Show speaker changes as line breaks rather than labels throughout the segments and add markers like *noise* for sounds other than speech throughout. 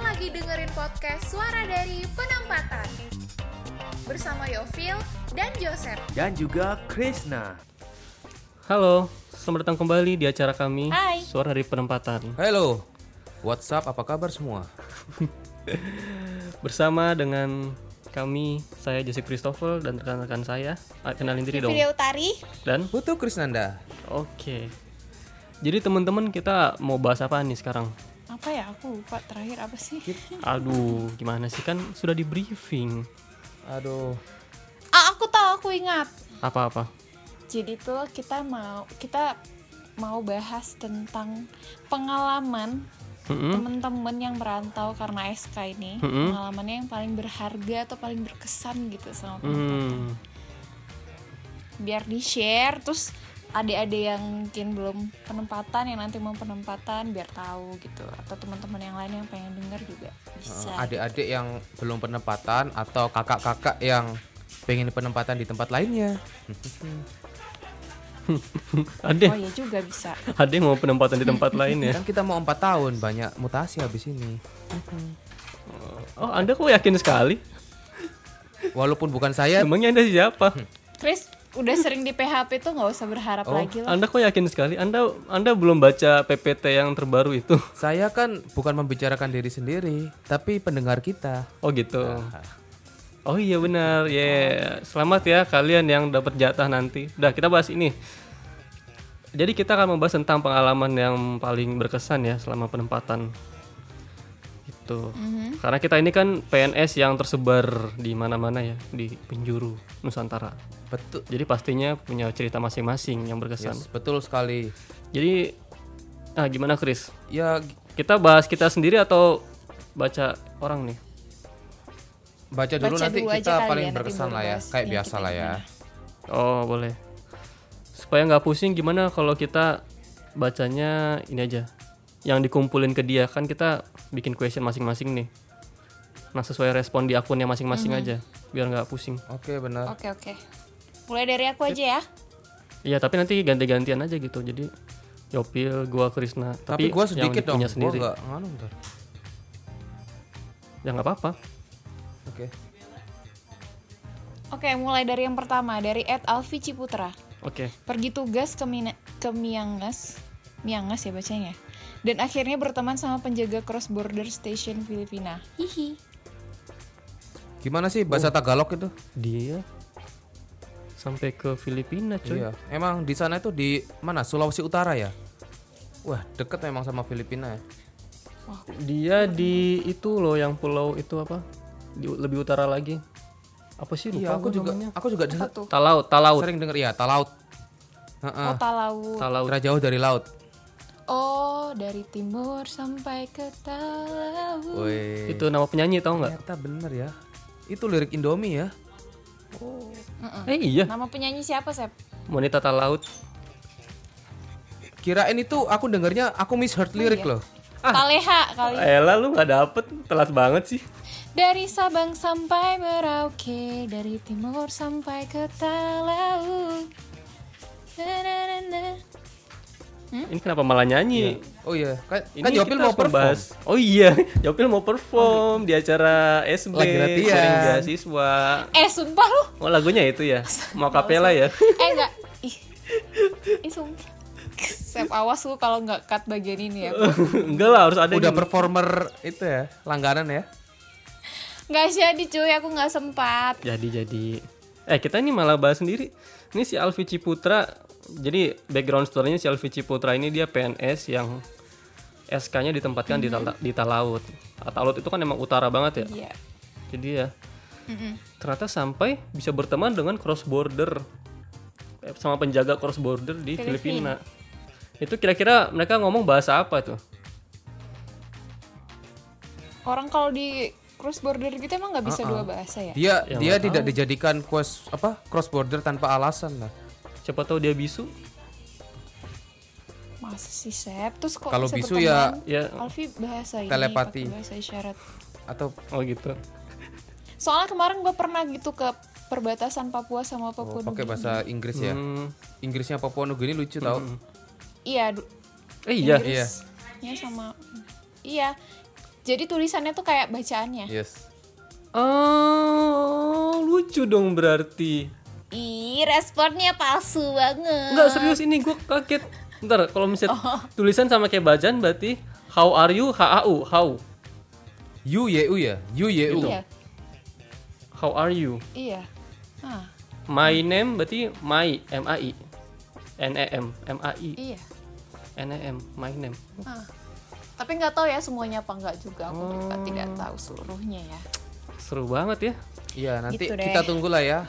lagi dengerin podcast Suara dari Penampatan bersama Yovil dan Joseph.
dan juga Krishna.
Halo, selamat datang kembali di acara kami
Hai.
Suara dari Penempatan
Halo, what's up? Apa kabar semua?
Bersama dengan kami, saya Jesse Christopher dan rekan-rekan saya Ah, Kenalin diri dong
Video Utari
Dan,
Butuh Krisnanda.
oke Jadi teman-teman kita mau bahas apa nih sekarang?
apa ya aku lupa terakhir apa sih
Aduh, gimana sih kan sudah di briefing
Aduh,
ah aku tahu aku ingat
Apa-apa?
jadi tuh kita mau kita mau bahas tentang pengalaman
Mm-mm.
temen-temen yang merantau karena SK ini
Mm-mm.
pengalamannya yang paling berharga atau paling berkesan gitu sama
Hmm,
biar di share terus adik-adik yang mungkin belum penempatan yang nanti mau penempatan biar tahu gitu atau teman-teman yang lain yang pengen denger juga bisa
Ah,
adik-adik yang belum penempatan atau kakak-kakak yang pengen penempatan di tempat lainnya.
Ade,
oh ya juga bisa
Ade mau penempatan di tempat lain ya
Kan kita mau empat tahun, banyak mutasi habis ini.
Oh, Anda kok yakin sekali?
Walaupun bukan saya,
Emangnya Anda siapa?
Chris udah sering di PHP tuh nggak usah berharap
Oh.
lagi lah.
Anda kok yakin sekali? Anda Anda belum baca PPT yang terbaru itu?
saya kan bukan membicarakan diri sendiri, tapi pendengar kita.
Oh gitu. Oh iya benar. Ya, selamat ya kalian yang dapat jatah nanti. Udah, kita bahas ini. Jadi kita akan membahas tentang pengalaman yang paling berkesan ya selama penempatan. Itu. Karena kita ini kan PNS yang tersebar di mana-mana ya, di penjuru Nusantara.
Betul,
Jadi pastinya punya cerita masing-masing yang berkesan.
betul sekali.
Jadi ah gimana Chris?
Ya
Kita bahas kita sendiri atau baca orang nih?
baca dulu
Baca
nanti
dulu aja kali
kita
ya,
paling
nanti
berkesan
baru
lah ya,
bahas
kayak
yang
biasa
kita
lah ya.
Oh boleh. Supaya nggak pusing gimana kalau kita bacanya ini aja. Yang dikumpulin ke dia kan kita bikin question masing-masing nih. Nah sesuai respon di akunnya masing-masing aja biar nggak pusing.
Oke, benar.
Oke oke. Mulai dari aku aja ya.
Iya tapi nanti ganti-gantian aja gitu. Jadi Yopil, gua Krisna. Tapi,
Tapi, gua
yang
sedikit dong,
punya
gua
sendiri.
nggak nganu ntar.
Ya nggak apa-apa.
Oke.
Oke, mulai dari yang pertama dari Ed Alfi Ciputra.
Oke.
Pergi tugas ke Mina- ke Miangas, Miangas ya bacanya. Dan akhirnya berteman sama penjaga cross border station Filipina. Hihi.
Gimana sih
Oh.
bahasa Tagalog itu?
Dia sampai ke Filipina cuy.
Iya, emang di sana itu di mana? Sulawesi Utara ya? Wah, deket memang sama Filipina ya.
Dia di itu loh yang pulau itu apa? Di, lebih utara lagi. Apa sih lupa
Iya, aku
gua
juga
namanya.
aku juga desa-
Talaut, talaut.
sering dengar ya, Talaut. Heeh.
Kota laut.
Oh, Talaut.
Utara jauh dari laut.
Oh, dari timur sampai ke laut.
Woi.
Itu nama penyanyi tau nggak?
Ternyata bener ya. Itu lirik Indomie ya.
Eh iya,
Nama penyanyi siapa, Sep?
wanita talaut.
Kirain itu aku dengarnya
Oh,
aku misheard lirik
iya.
loh.
Ah. Taleha kali.
Ah, Ella lu nggak dapet, telat banget sih.
Dari Sabang sampai Merauke, dari timur sampai ke Talaut. Na, na, na, na.
Ini kenapa malah nyanyi?
Oh iya, kan,
Ini
Hmm? kan Jopil
kita
mau
harus membahas-
perform.
Oh iya, *laughs* Jopil mau perform di acara SB
Lagi latihan.
Sharing Beasiswa.
Eh, sumpah lu.
Oh lagunya itu
*laughs*
ya, mau kapela ya?
Eh, enggak. Ih. Ih, sumpah. Sep, awas lu kalau nggak cut bagian ini ya.
*laughs* Enggak lah, harus ada.
Udah
di-
performer itu ya, langganan
Iya.
ya.
Nggak jadi cuy, aku nggak sempat.
Jadi jadi. Eh kita ini malah bahas sendiri. Ini si Alfi Ciputra. Jadi background story-nya si Alfi Ciputra ini dia PNS yang SK-nya ditempatkan di Tala- di Talaut. Ah, Talaut itu kan emang utara banget ya.
Iya.
Jadi ya. Ternyata sampai bisa berteman dengan cross border eh, sama penjaga cross border di Filipina. Itu kira-kira mereka ngomong bahasa apa tuh?
Orang kalau di cross border gitu emang nggak bisa
Ah,
dua bahasa ya?
Dia dia tidak dijadikan quest apa cross border tanpa alasan lah.
Siapa tahu dia bisu?
Masa sih, Sep? Terus kok
Kalau
bisa
bisu ya-
berteman?
Ya,
Alfi bahasa ini,
Telepati.
pakai bahasa isyarat.
Atau
oh gitu.
Soalnya kemarin gue pernah gitu ke perbatasan Papua sama Papua
Oh, pakai
Nugini.
bahasa Inggris ya.
Hmm.
Inggrisnya Papua Nugini lucu tau.
Iya, du-
Eh iya,
Iya.
Inggrisnya sama Iya. Jadi tulisannya tuh kayak bacaannya.
Yes.
Oh, lucu dong berarti.
Ih, responnya palsu banget.
Enggak serius ini gue kaget. Ntar kalau misalnya tulisan sama kayak bacaan berarti how are you? H A U. How.
U Y U ya? U Y U.
Iya,
How are you?
iya. Ah,
My name berarti my M A I N E M M A I
iya.
N E M my name.
Ah. Tapi nggak tahu ya semuanya apa nggak juga. Aku juga
Oh.
tidak tahu seluruhnya ya.
Seru banget ya.
Iya, nanti
Gitu deh. Hmm.
kita tunggulah ya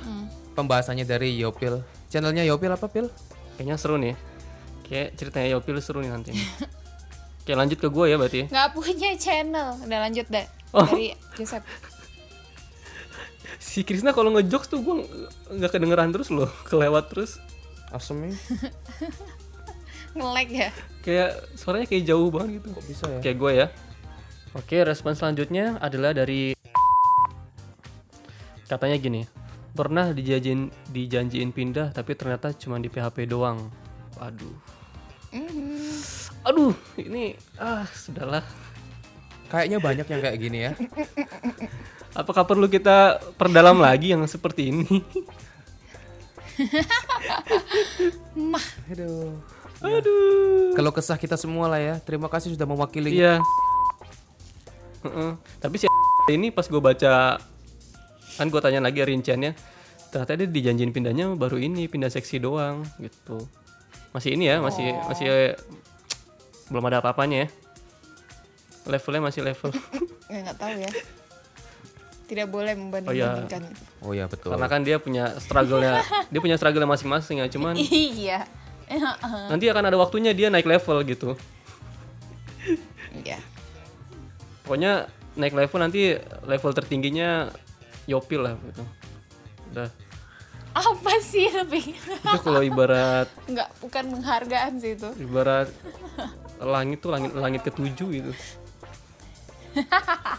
pembahasannya dari Yopil. Channelnya Yopil apa, Pil?
Kayaknya seru nih. ya. Kayak ceritanya Yopil seru nih nanti. Oke lanjut ke gue ya berarti.
Nggak punya *laughs* channel. Udah lanjut deh.
Oh.
Dari Joseph.
Si Krisna kalau ngejokes tuh gue nggak kedengeran terus loh, kelewat terus. ya.
Asemi.
Nge-lag ya.
Kayak suaranya kayak jauh banget gitu.
Kok bisa ya?
Kayak gue ya. Oke, respon selanjutnya adalah dari katanya gini. Pernah dijanjiin dijanjiin pindah tapi ternyata cuma di PHP doang. Waduh. Aduh, ini ah sudahlah.
Kayaknya banyak yang kayak gini ya.
Apakah perlu kita perdalam lagi yang seperti ini?
Aduh.
Aduh.
Kalau kesah kita semua lah ya. Terima kasih sudah mewakili.
Iya. Heeh. Tapi si *laughs* ini pas gue baca kan gue tanya lagi rinciannya ternyata dia dijanjiin pindahnya baru ini pindah seksi doang gitu masih ini ya masih masih belum ada apa-apanya ya levelnya masih level
Ya, nggak tahu ya. Tidak boleh
Oh, iya.
membanding-bandingkan.
Oh ya, betul.
karena kan dia punya struggle-nya dia punya struggle masing-masing ya cuman
*laughs* Iya.
nanti akan ada waktunya dia naik level gitu
Iya.
pokoknya naik level nanti level tertingginya yopil lah gitu udah
Apa sih lebih? *laughs*
itu kalau ibarat
Nggak, bukan penghargaan sih itu.
ibarat langit tuh langit langit ketujuh gitu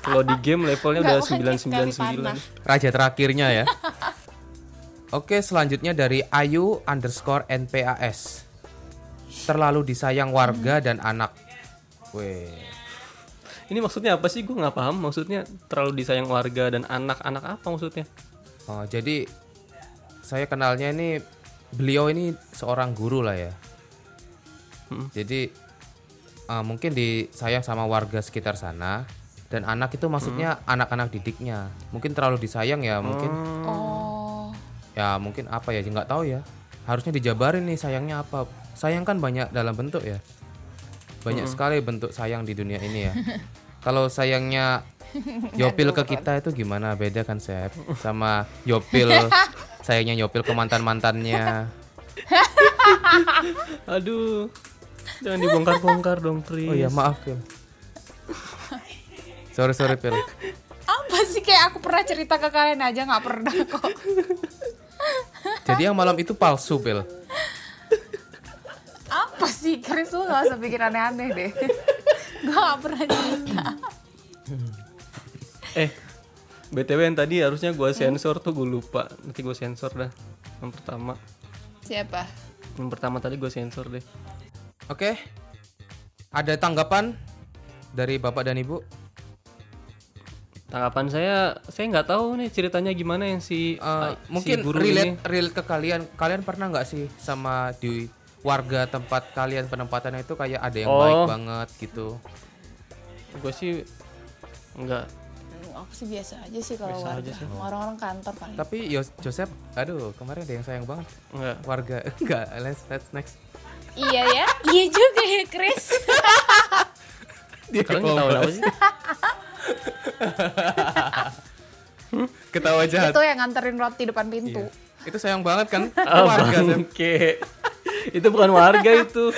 kalau di game levelnya udah
Nggak
999
langit, kali
Raja terakhirnya ya. Oke, selanjutnya dari Ayu underscore NPAS. Terlalu disayang warga dan anak. Weh.
ini maksudnya apa sih gue nggak paham maksudnya terlalu disayang warga dan anak-anak apa maksudnya
Oh, jadi saya kenalnya ini beliau ini seorang guru lah ya. Jadi eh, mungkin disayang sama warga sekitar sana dan anak itu maksudnya anak-anak didiknya. Mungkin terlalu disayang ya, mungkin
Oh.
ya mungkin apa ya nggak tahu ya harusnya dijabarin nih sayangnya apa sayang kan banyak dalam bentuk ya banyak sekali bentuk sayang di dunia ini ya kalau sayangnya Yopil ke kita itu gimana beda kan Sep sama Yopil sayangnya Yopil ke mantan mantannya
aduh jangan dibongkar-bongkar dong Tris
oh ya maaf Pil sorry sorry Pil
Apa sih kayak aku pernah cerita ke kalian aja nggak pernah *laughs* kok.
jadi yang malam itu palsu Pil
Apa sih Chris lu gak usah pikir aneh-aneh deh. *laughs* Gue gak pernah cerita.
eh btw yang tadi harusnya gue sensor tuh gue lupa nanti gue sensor dah yang pertama
Siapa?
yang pertama tadi gue sensor deh
oke ada tanggapan dari bapak dan ibu
tanggapan saya saya nggak tahu nih ceritanya gimana yang si ah,
Uh,
si
mungkin
guru
relate
ini.
relate ke kalian. Kalian pernah nggak sih sama di warga tempat kalian penempatannya itu kayak ada yang baik
Oh.
banget gitu.
gue sih nggak
Hmm, Aku sih biasa aja sih kalau
Biasa aja
warga.
sih.
Orang-orang kantor paling.
Tapi Yos- Joseph, aduh kemarin ada yang sayang banget
nggak
warga. *laughs* Enggak, let's let's next.
iya ya? *laughs* iya juga ya *laughs* Chris.
Dia
kalian ketahuan apa sih
ketawa jahat.
Itu yang nganterin roti depan pintu.
Iya.
Itu sayang banget kan
Ah,
warga. Sep.
bangke. *laughs* itu bukan warga itu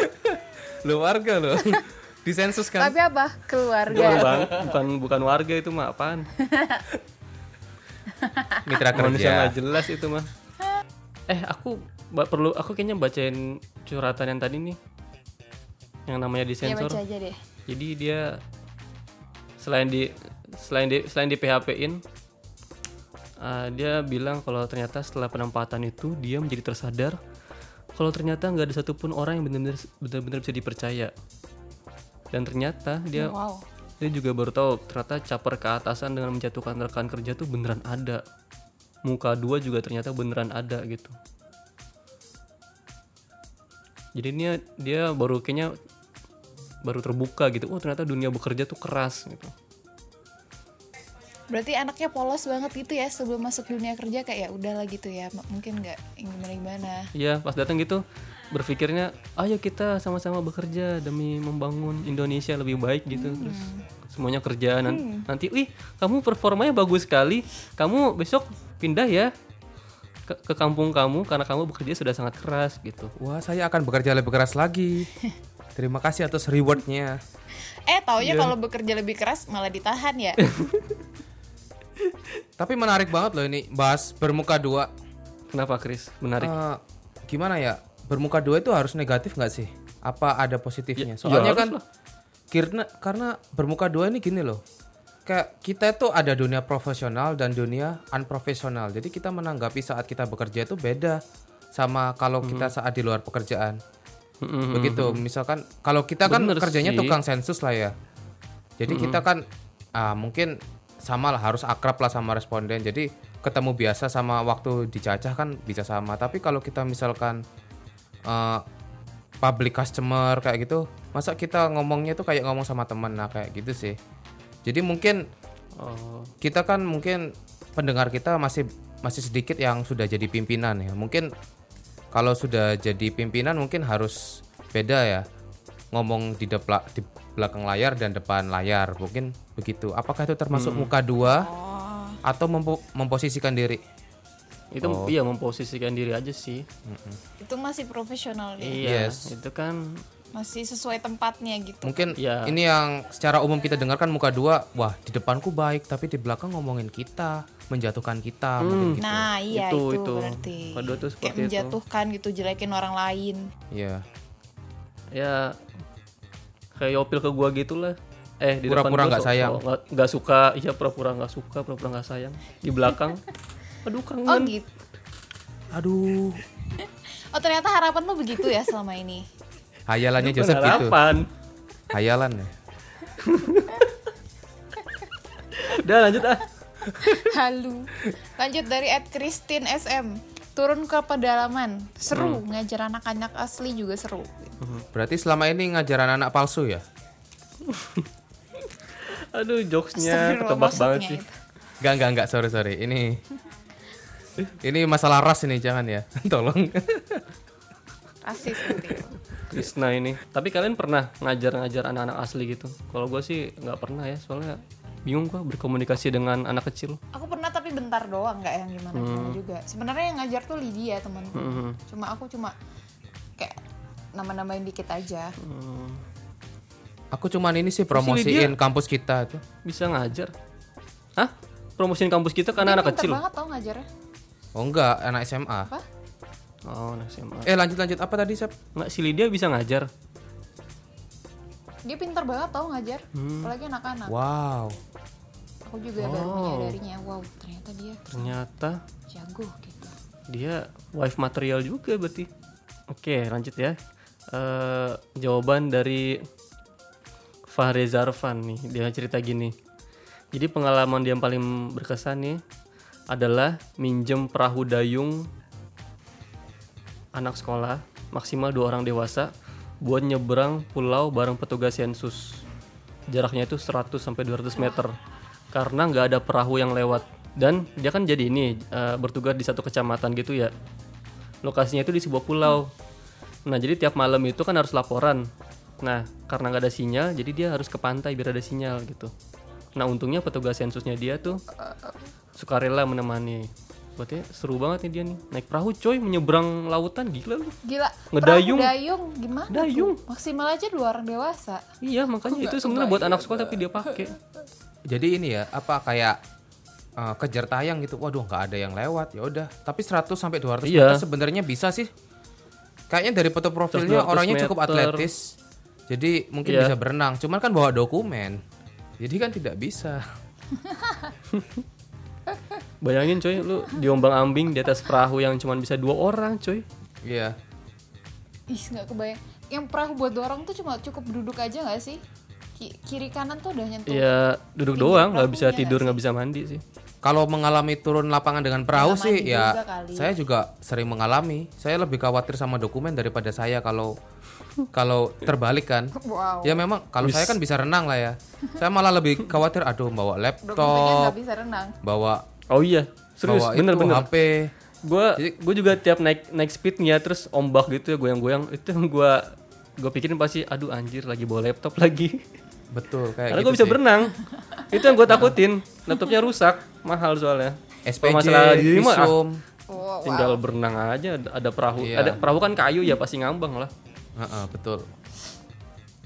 Lu warga lo. Disensus kan.
Tapi apa? Keluarga.
bukan bang bukan bukan warga itu mah apaan
Mitra
manusia
kerja.
nggak jelas itu mah eh aku ba- perlu aku kayaknya bacain curhatan yang tadi nih yang namanya
ya
disensor
baca aja deh.
jadi dia selain di selain di selain di PHP-in eh, dia bilang kalau ternyata setelah penempatan itu dia menjadi tersadar kalau ternyata nggak ada satupun orang yang benar-benar benar-benar bisa dipercaya dan ternyata dia
Wow.
dia saya juga baru tahu ternyata caper ke atasan dengan menjatuhkan rekan kerja tuh beneran ada muka dua juga ternyata beneran ada gitu jadi dia dia baru kayaknya baru terbuka gitu oh ternyata dunia bekerja tuh keras gitu
Berarti anaknya polos banget gitu ya sebelum masuk dunia kerja kayak ya udahlah gitu ya. M- Mungkin nggak yang gimana-gimana.
Iya, pas datang gitu berpikirnya, ayo kita sama-sama bekerja demi membangun Indonesia lebih baik gitu. Terus semuanya kerja nan- nanti, wih kamu performanya bagus sekali, kamu besok pindah ya ke, ke kampung kamu karena kamu bekerja sudah sangat keras gitu.
Wah, saya akan bekerja lebih keras lagi. Terima kasih atas rewardnya.
Iya.
Eh taunya kalau bekerja lebih keras malah ditahan
*laughs*
ya.
Tapi menarik banget loh ini bahas bermuka dua.
Kenapa Chris? Menarik.
Eh, gimana ya? Bermuka dua itu harus negatif nggak sih? Apa ada positifnya?
Ya,
Soalnya
harus
kan karena karena bermuka dua ini gini loh. Kayak kita itu ada dunia profesional dan dunia unprofesional. Jadi kita menanggapi saat kita bekerja itu beda sama kalau kita
Hmm.
saat di luar pekerjaan.
Mm-mm.
Begitu. Misalkan kalau kita kan
Mm-hmm. Bener
kerjanya
sih.
tukang sensus lah ya. Jadi kita kan ah, mungkin sama lah harus akrab lah sama responden. Jadi ketemu biasa sama waktu dicacah kan bisa sama. Tapi kalau kita misalkan eh, public customer kayak gitu, masa kita ngomongnya tuh kayak ngomong sama temen nah kayak gitu sih. Jadi mungkin
Oh,
kita kan mungkin pendengar kita masih masih sedikit yang sudah jadi pimpinan ya. Mungkin kalau sudah jadi pimpinan mungkin harus beda ya ngomong di depla- di belakang layar dan depan layar mungkin begitu. Apakah itu termasuk muka dua atau mempo- memposisikan diri?
itu iya memposisikan diri aja sih.
Itu masih profesional ya.
Iya,
Yes.
itu kan
Masih sesuai tempatnya gitu.
Mungkin
Ya.
ini yang secara umum kita dengarkan muka dua, wah di depanku baik tapi di belakang ngomongin kita, menjatuhkan kita mungkin gitu.
Nah iya
Itu-
itu,
itu.
berarti.
Waduh, tuh
kayak
seperti itu.
menjatuhkan gitu jelekin orang lain.
Iya.
ya kayak yopil ke gua gitulah eh di depan
Pura-pura
gua
nggak
so-
sayang.
so- nggak nggak suka iya pura-pura nggak suka pura-pura nggak sayang di
*laughs*
belakang aduh kangen
Oh gitu.
Aduh,
*laughs* Oh ternyata harapan lu begitu ya selama ini.
hayalannya
Bukan
Joseph gitu.
harapan
Hayalan ya.
udah lanjut ah
Halu. Lanjut dari Ed Christine SM. Turun ke pedalaman. Seru
Hmm.
ngajar anak-anak asli juga seru.
Berarti selama ini ngajar anak palsu ya?
aduh jokesnya
Astagfirullah,
ketebak banget
maksudnya
sih
ya itu.
Enggak, enggak, enggak, sorry, sorry. Ini ini masalah ras ini jangan ya. *laughs* Tolong.
Rasis gitu ya. nanti.
Krisna ini tapi kalian pernah ngajar-ngajar anak-anak asli gitu kalau gua sih nggak pernah ya soalnya bingung gua berkomunikasi dengan anak kecil
Aku pernah tapi bentar doang nggak yang gimana
Hmm.
gimana juga. Sebenarnya yang ngajar tuh Lydia teman.
Mhm.
Cuma aku cuma kayak nama-namain dikit aja. Hmm.
Aku cuman ini sih
Lydia.
promosiin kampus kita tuh.
bisa ngajar Hah? promosiin kampus kita karena Kan
Dia
anak
pinter
kecil
banget tau ngajarnya.
Oh enggak, anak SMA.
Apa?
oh nah SMA
Eh, lanjut lanjut apa tadi, Sep?
nggak si Lydia bisa ngajar
Dia pinter banget tau ngajar.
Hmm.
Apalagi anak-anak.
Wow.
Aku juga baru menyadarinya. Wow ternyata dia
ternyata
jago gitu.
dia wife material juga berarti oke lanjut ya Eh, jawaban dari Fahre Zarfan nih dia cerita gini jadi pengalaman dia yang paling berkesan nih adalah minjem perahu dayung anak sekolah maksimal dua orang dewasa buat nyeberang pulau bareng petugas sensus jaraknya itu 100 sampai 200 meter karena nggak ada perahu yang lewat dan dia kan jadi ini eh, bertugas di satu kecamatan gitu ya lokasinya itu di sebuah pulau nah jadi tiap malam itu kan harus laporan nah karena nggak ada sinyal jadi dia harus ke pantai biar ada sinyal gitu nah untungnya petugas sensusnya dia tuh sukarela menemani berarti seru banget nih dia nih naik perahu coy menyeberang lautan gila lu
Gila,
Ngedayung.
perahu dayung gimana? tuh?
Dayung.
Maksimal aja dua orang dewasa.
iya makanya itu sebenarnya
ya,
buat anak sekolah tapi dia pakai
Jadi ini ya, apa kayak eh, kejar tayang gitu. Waduh, enggak ada yang lewat. Ya udah, tapi 100 sampai 200
Iya.
meter sebenarnya bisa sih. Kayaknya dari foto profilnya
200
orangnya cukup
meter.
atletis. Jadi mungkin
Iya.
bisa berenang, cuman kan bawa dokumen. Jadi kan tidak bisa.
Bayangin coy, lu diombang ambing di atas perahu yang cuma bisa dua orang coy.
Iya.
Ih, nggak kebayang. Yang perahu buat dua orang tuh cuma cukup duduk aja nggak sih? Ki- kiri kanan tuh udah nyentuh
ya duduk
Iya,
Pinggir
doang nggak
perahu
bisa
ya
tidur
nggak
nggak bisa mandi sih
Kalau mengalami turun lapangan dengan perahu
Mengalami
sih ya
juga kali.
saya juga sering mengalami. Saya lebih khawatir sama dokumen daripada saya kalau kalau terbalik kan.
wow
Ya memang kalau saya kan bisa renang lah ya. Saya malah
*laughs*
lebih khawatir aduh bawa
dokumennya nggak
laptop,
bisa renang
bawa
oh iya serius
bawa itu
bener-bener
HP.
gue
Jadi-
gue juga tiap naik naik speednya terus ombak gitu ya goyang-goyang itu yang gue gue pikirin pasti aduh anjir lagi bawa laptop lagi
Betul
karena
kayak gitu
gue bisa
sih.
berenang itu yang gue takutin laptopnya rusak mahal soalnya
SPJ,
Kalau masalah diri mah ah,
visum.
wow, wow.
tinggal berenang aja ada, ada perahu
Iya.
ada perahu kan kayu ya pasti ngambang lah
Heeh, betul.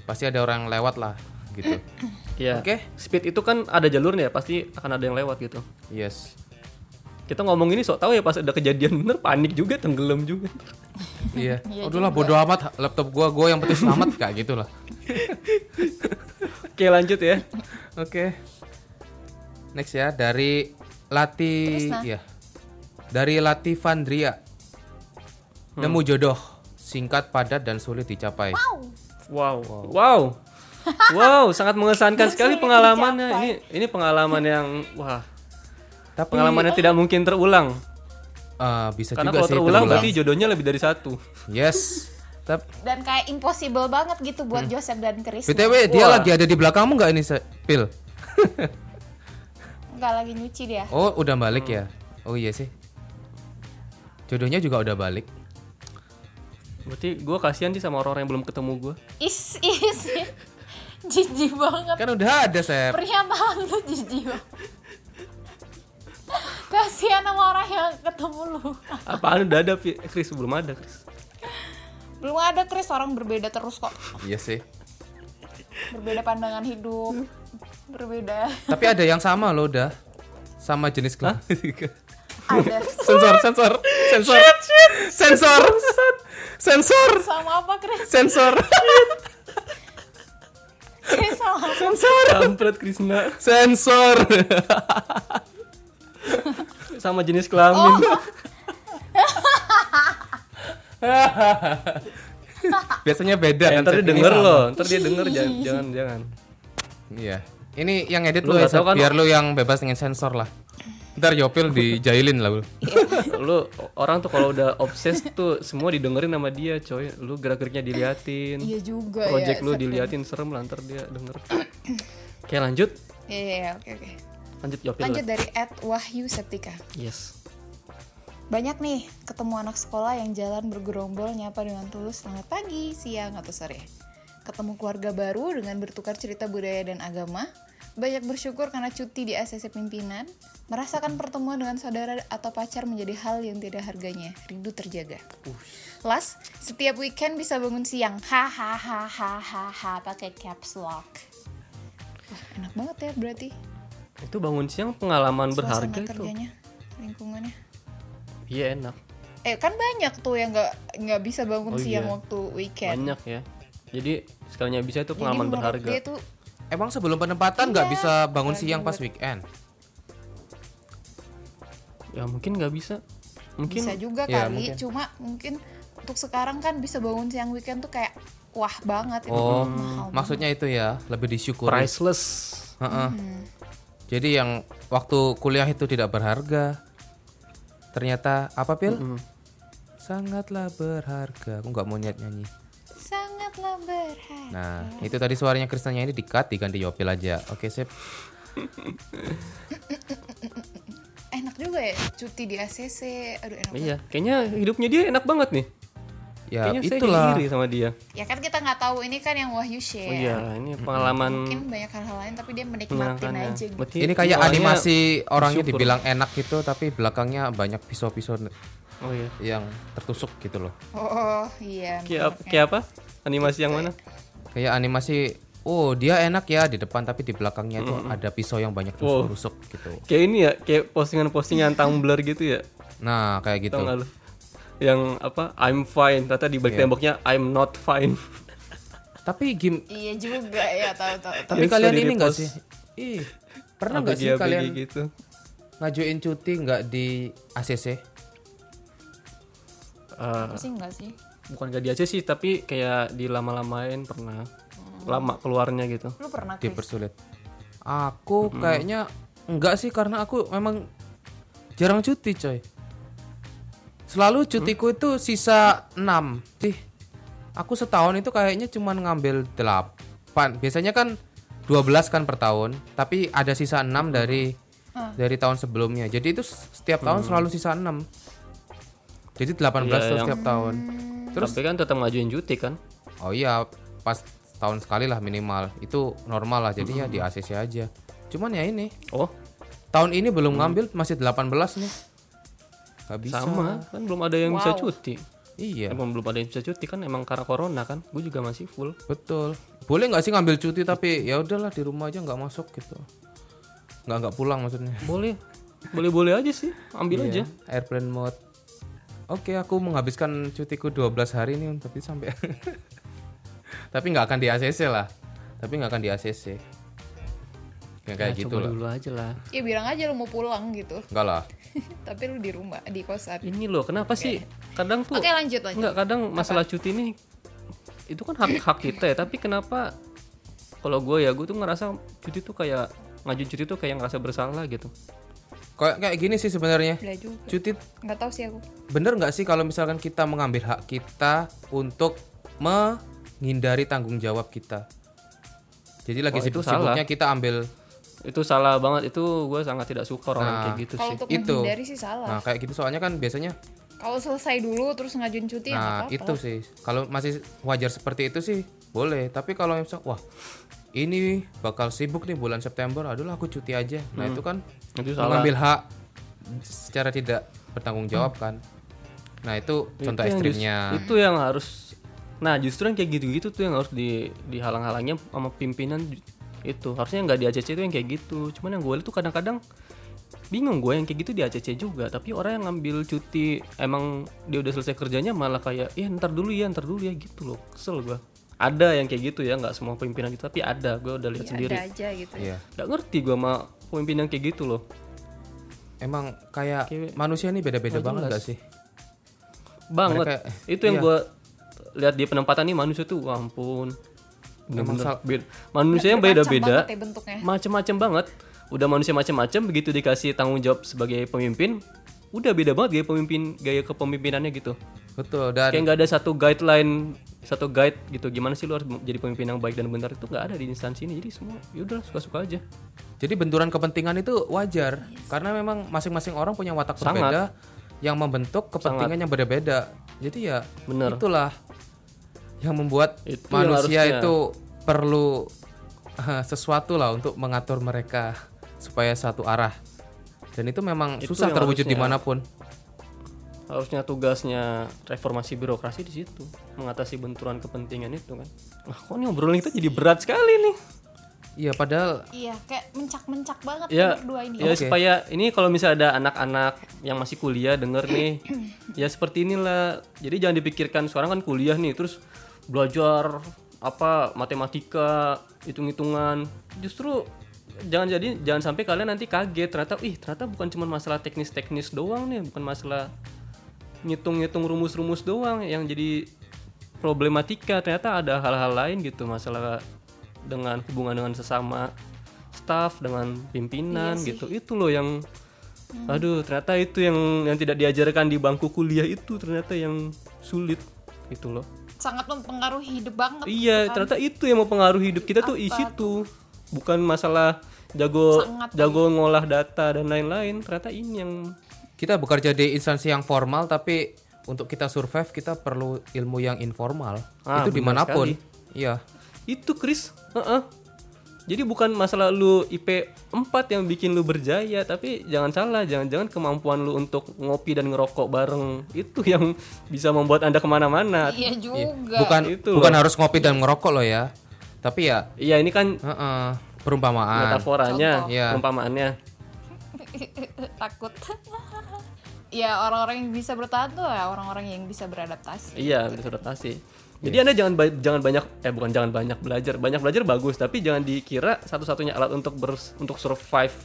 Pasti ada orang yang lewat lah gitu.
*clears throat* Iya.
Oke.
Speed itu kan ada jalurnya ya, pasti akan ada yang lewat gitu.
Yes.
Kita ngomong ini sok tahu ya pas ada kejadian *laughs* bener panik juga, tenggelam juga. *laughs*
*laughs* Iya. Aduh lah bodo amat laptop gua, gua yang penting *laughs* selamat kayak gitu lah.
Oke, lanjut ya.
Oke. Next ya dari Lati
Trisna.
ya. Dari Latifandria.
Hmm.
Nemu jodoh, singkat, padat dan sulit dicapai.
Wow. Wow.
*laughs*
Wow, sangat mengesankan sekali pengalamannya. Ini ini pengalaman yang wah,
Tapi
pengalaman yang tidak mungkin terulang.
eh, bisa
Karena
juga
kalau
sih
terulang,
terulang.
berarti jodohnya lebih dari satu. *laughs*
Yes. Tap-
dan kayak impossible banget gitu buat Joseph dan Chris
BTW dia lagi ada di belakangmu nggak ini, Se- Pil?
nggak lagi nyuci dia
Oh, udah balik ya.
Hmm.
Oh iya sih. Jodohnya juga udah balik.
Berarti gue kasihan sih sama orang-orang yang belum ketemu gue.
is is *laughs* jijik banget
Kan udah ada, Sep.
pernyataan lu jijik banget kasihan sama orang yang ketemu lu
Apaan udah ada Pi? Chris belum ada
*laughs*
Chris.
belum ada Chris orang berbeda terus kok
Iya sih.
berbeda pandangan hidup berbeda
Tapi ada yang sama loh udah. Sama jenis kelamin.
ada
sensor sensor sensor sensor sensor
*laughs* sama apa Chris
sensor
Chris sama apa?
Kampret Krisna
*laughs* sensor
sama jenis kelamin.
Oh.
biasanya beda
Eh,
kan
ntar dia
Cep? Ini
denger
sama.
loh, ntar dia denger jangan jangan jangan.
iya ini yang edit
Lu
lu, ya,
nggak tahu
Cep.
kan?
biar lu yang bebas dengan sensor lah ntar Yopil dijailin lah lu
lu orang tuh kalau udah obses tuh semua didengerin sama dia coy lu gerak-geriknya diliatin
iya juga
project
ya
lu diliatin serem lah ntar dia denger oke lanjut
iya iya, iya, oke oke
lanjut Yopil
lanjut dari Ed Wahyu Septika
yes
Banyak nih ketemu anak sekolah yang jalan bergerombol nyapa dengan tulus selamat pagi, siang, atau sore. Ketemu keluarga baru dengan bertukar cerita budaya dan agama. Banyak bersyukur karena cuti di ACC pimpinan. Merasakan pertemuan dengan saudara atau pacar menjadi hal yang tidak harganya. Rindu terjaga. Last, setiap weekend bisa bangun siang. Hahaha pakai caps lock. Wah, enak banget ya berarti.
itu bangun siang pengalaman
suasana
berharga itu
kerjanya, lingkungannya.
iya enak
Eh kan banyak tuh yang nggak nggak bisa bangun
Oh,
siang
iya.
waktu weekend.
banyak ya jadi sekalinya bisa itu
Jadi
pengalaman
menurut
berharga
Dia tuh
*laughs* emang sebelum penempatan nggak bisa bangun siang pas weekend
ya mungkin nggak bisa mungkin
bisa juga
Iya,
kali,
mungkin.
cuma mungkin untuk sekarang kan bisa bangun siang weekend tuh kayak wah banget itu
oh
mahal banget.
maksudnya itu ya lebih disyukuri
priceless
Heeh.
Hmm.
jadi yang waktu kuliah itu tidak berharga ternyata apa Pil
Hmm.
sangatlah berharga aku nggak mau niat nyanyi
Eh,
sangatlah berharga.
Nah, itu tadi suaranya Krisnanya ini di-cut diganti Yopil aja. Oke, sip.
Enak juga ya cuti di ACC. Aduh enak. banget.
iya kayaknya hidupnya dia enak banget nih
Ya,
kayaknya
itulah.
saya iri sama dia
Ya kan kita nggak tahu ini kan yang Wahyu share.
oh iya ini pengalaman ya.
Mungkin banyak hal-hal lain tapi dia menikmatin
menyenangkannya
aja. gitu.
Berarti
Ini kayak
orangnya-
animasi orangnya
bersyukur.
dibilang enak gitu, tapi belakangnya banyak pisau-pisau
oh iya
yang tertusuk gitu loh.
Oh iya.
Kayak apa,
makanya.
kayak apa? Animasi yang mana?
Kayak animasi, oh dia enak ya di depan, tapi di belakangnya itu ada pisau yang banyak
Wow.
tusuk-tusuk gitu.
Kayak ini ya, kayak postingan-postingan Tumblr gitu ya.
Nah, kayak gitu.
Tau nggak lu? Yang apa? I'm fine. Ternyata di
Iya.
balik temboknya I'm not fine.
Tapi game,
Iya juga
*laughs*
ya tahu-tahu.
tapi
Yang
kalian
sudah
ini enggak
di-post.
sih? Ih, pernah nggak
Apa
sih
dia
kalian
bagi gitu.
ngajuin cuti nggak di ACC?
Eh,
Aku sih enggak sih.
bukan gak dia aja sih, tapi kayak dilama-lamain pernah.
Oh.
lama keluarnya gitu.
Lu pernah Chris?
dipersulit. Aku kayaknya enggak sih karena aku memang jarang cuti, coy. Selalu
Hmm?
cutiku itu sisa 6. Sih. Aku setahun itu kayaknya cuman ngambil 8. Biasanya kan 12 kan per tahun, tapi ada sisa 6 dari dari tahun sebelumnya. Jadi itu setiap tahun selalu sisa 6. Jadi
Hmm. Iya,
18 tuh
yang-
setiap tahun. Terus
Tapi kan tetap ngajuin cuti kan?
Oh iya, pas tahun sekali lah minimal. Itu normal lah, jadi ya di ACC aja. Cuman ya ini,
Oh,
tahun ini belum ngambil masih 18 nih. Gak bisa.
Hmm. sama kan belum ada yang bisa
Wow.
cuti.
Iya,
Emang belum ada yang bisa cuti kan emang karena corona kan? Gue juga masih full.
betul. Boleh nggak sih ngambil cuti tapi ya udahlah di rumah aja nggak masuk gitu. Nggak nggak pulang maksudnya. Iya,
Boleh, boleh boleh aja sih, ambil aja.
Airplane mode. Oke, aku menghabiskan cutiku 12 hari nih tapi sampai *laughs* tapi nggak akan di ACC lah. Tapi nggak akan di ACC. Ya, kayak
Ya,
gitu
coba
lah.
dulu aja lah.
Ya bilang aja lu mau pulang gitu. *laughs*
Enggak lah.
Tapi lu di rumah, di kosan.
Ini loh, kenapa sih kadang tuh
Oke, lanjut lanjut.
Enggak, kadang masalah cuti nih itu kan hak hak kita ya, tapi kenapa kalau gue ya gue tuh ngerasa cuti tuh kayak ngajuin cuti tuh kayak ngerasa bersalah gitu.
Kayak kayak gini sih sebenarnya.
Udah juga.
Cuti
Nggak tahu sih aku.
bener nggak sih kalau misalkan kita mengambil hak kita untuk menghindari tanggung jawab kita. Jadi lagi
Wah, Oh, itu
sibuk-sibuknya kita ambil
Itu salah banget, itu gue sangat tidak suka orang
Nah.
kayak gitu
Kalau
sih.
untuk
Itu.
menghindari sih salah.
nah kayak gitu soalnya kan biasanya
Kalau selesai dulu terus ngajuin cuti ya nggak
nah
apa-apa.
itu sih kalau masih wajar seperti itu sih boleh tapi kalau misal wah ini bakal sibuk nih bulan September aduh lah aku cuti aja nah itu kan
Hmm. Itu salah. Hmm.
mengambil hak secara tidak bertanggung jawab kan nah itu
Itu yang
contoh
jus-
ekstrimnya
itu yang harus nah justru yang kayak gitu-gitu tuh yang harus di dihalang-halangnya sama pimpinan ju- itu harusnya nggak di ACC itu yang kayak gitu cuman yang gue lihat tuh kadang-kadang bingung gue yang kayak gitu di ACC juga tapi orang yang ngambil cuti emang dia udah selesai kerjanya malah kayak ya ntar dulu ya ntar dulu ya gitu loh kesel gue ada yang kayak gitu ya nggak semua pimpinan gitu tapi ada gue udah lihat
Ya,
sendiri
ada aja gitu.
Iya.
nggak ngerti gue sama pemimpin yang kayak gitu loh
Emang kayak
Kayak-
manusia ini beda-beda
Nggak
banget
jelas.
gak sih?
banget
Mereka-
itu yang
iya.
gua lihat di penempatan nih manusia tuh wah ampun
Memang
Bener-bener
sal-
beda. manusia yang beda-beda
Macam banget ya bentuknya.
macem-macem banget udah manusia macem-macem begitu dikasih tanggung jawab sebagai pemimpin udah beda banget gaya pemimpin gaya kepemimpinannya gitu
Betul dan
kayak nggak ada satu guideline satu guide gitu gimana sih lu harus jadi pemimpin yang baik dan benar itu nggak ada di instansi ini jadi semua yaudah suka-suka aja
jadi benturan kepentingan itu wajar karena memang masing-masing orang punya watak
Sangat.
berbeda yang membentuk kepentingan yang berbeda-beda. Jadi ya
Bener.
itulah yang membuat
Itu yang
manusia
harusnya.
itu perlu eh, sesuatu lah untuk mengatur mereka supaya satu arah. Dan itu memang
Itu
susah
yang
terwujud
harusnya.
dimanapun.
harusnya tugasnya reformasi birokrasi di situ mengatasi benturan kepentingan itu kan wah kok nih obrolan kita jadi berat sekali nih
Iya padahal
Iya, kayak mencak-mencak banget
ya,
Iya.
nih berdua ini.
ya supaya ini kalau misalnya ada anak-anak yang masih kuliah denger nih ya seperti inilah jadi jangan dipikirkan sekarang kan kuliah nih terus belajar apa matematika hitung-hitungan justru jangan jadi jangan sampai kalian nanti kaget ternyata ih ternyata bukan cuma masalah teknis-teknis doang nih bukan masalah ngitung-ngitung rumus-rumus doang yang jadi problematika ternyata ada hal-hal lain gitu masalah dengan hubungan dengan sesama staff dengan pimpinan gitu itu loh yang aduh ternyata itu yang yang tidak diajarkan di bangku kuliah itu ternyata yang sulit gitu loh
Sangat mempengaruhi hidup banget.
iya ternyata itu yang mempengaruhi hidup kita tuh di situ bukan masalah jago jago ngolah data dan lain-lain ternyata ini yang
kita bekerja di instansi yang formal tapi untuk kita survive kita perlu ilmu yang informal.
Ah,
itu
benar
dimanapun. Iya.
Itu Chris. Heeh. Jadi bukan masalah lu IP 4 yang bikin lu berjaya, tapi jangan salah, jangan-jangan kemampuan lu untuk ngopi dan ngerokok bareng itu *laughs* yang bisa membuat anda kemana-mana.
Iya juga. *laughs*
bukan
Itu
bukan
loh.
harus ngopi dan ngerokok loh ya tapi ya
Iya ini kan
heeh, perumpamaan
metaforanya,
Contoh. Iya.
perumpamaannya.
Takut. *laughs* ya orang-orang yang bisa bertahan tuh ya orang-orang yang bisa beradaptasi.
Iya, disertasi. Jadi anda jangan ba- jangan banyak eh bukan jangan banyak belajar, banyak belajar bagus, tapi jangan dikira satu-satunya alat untuk bers- untuk survive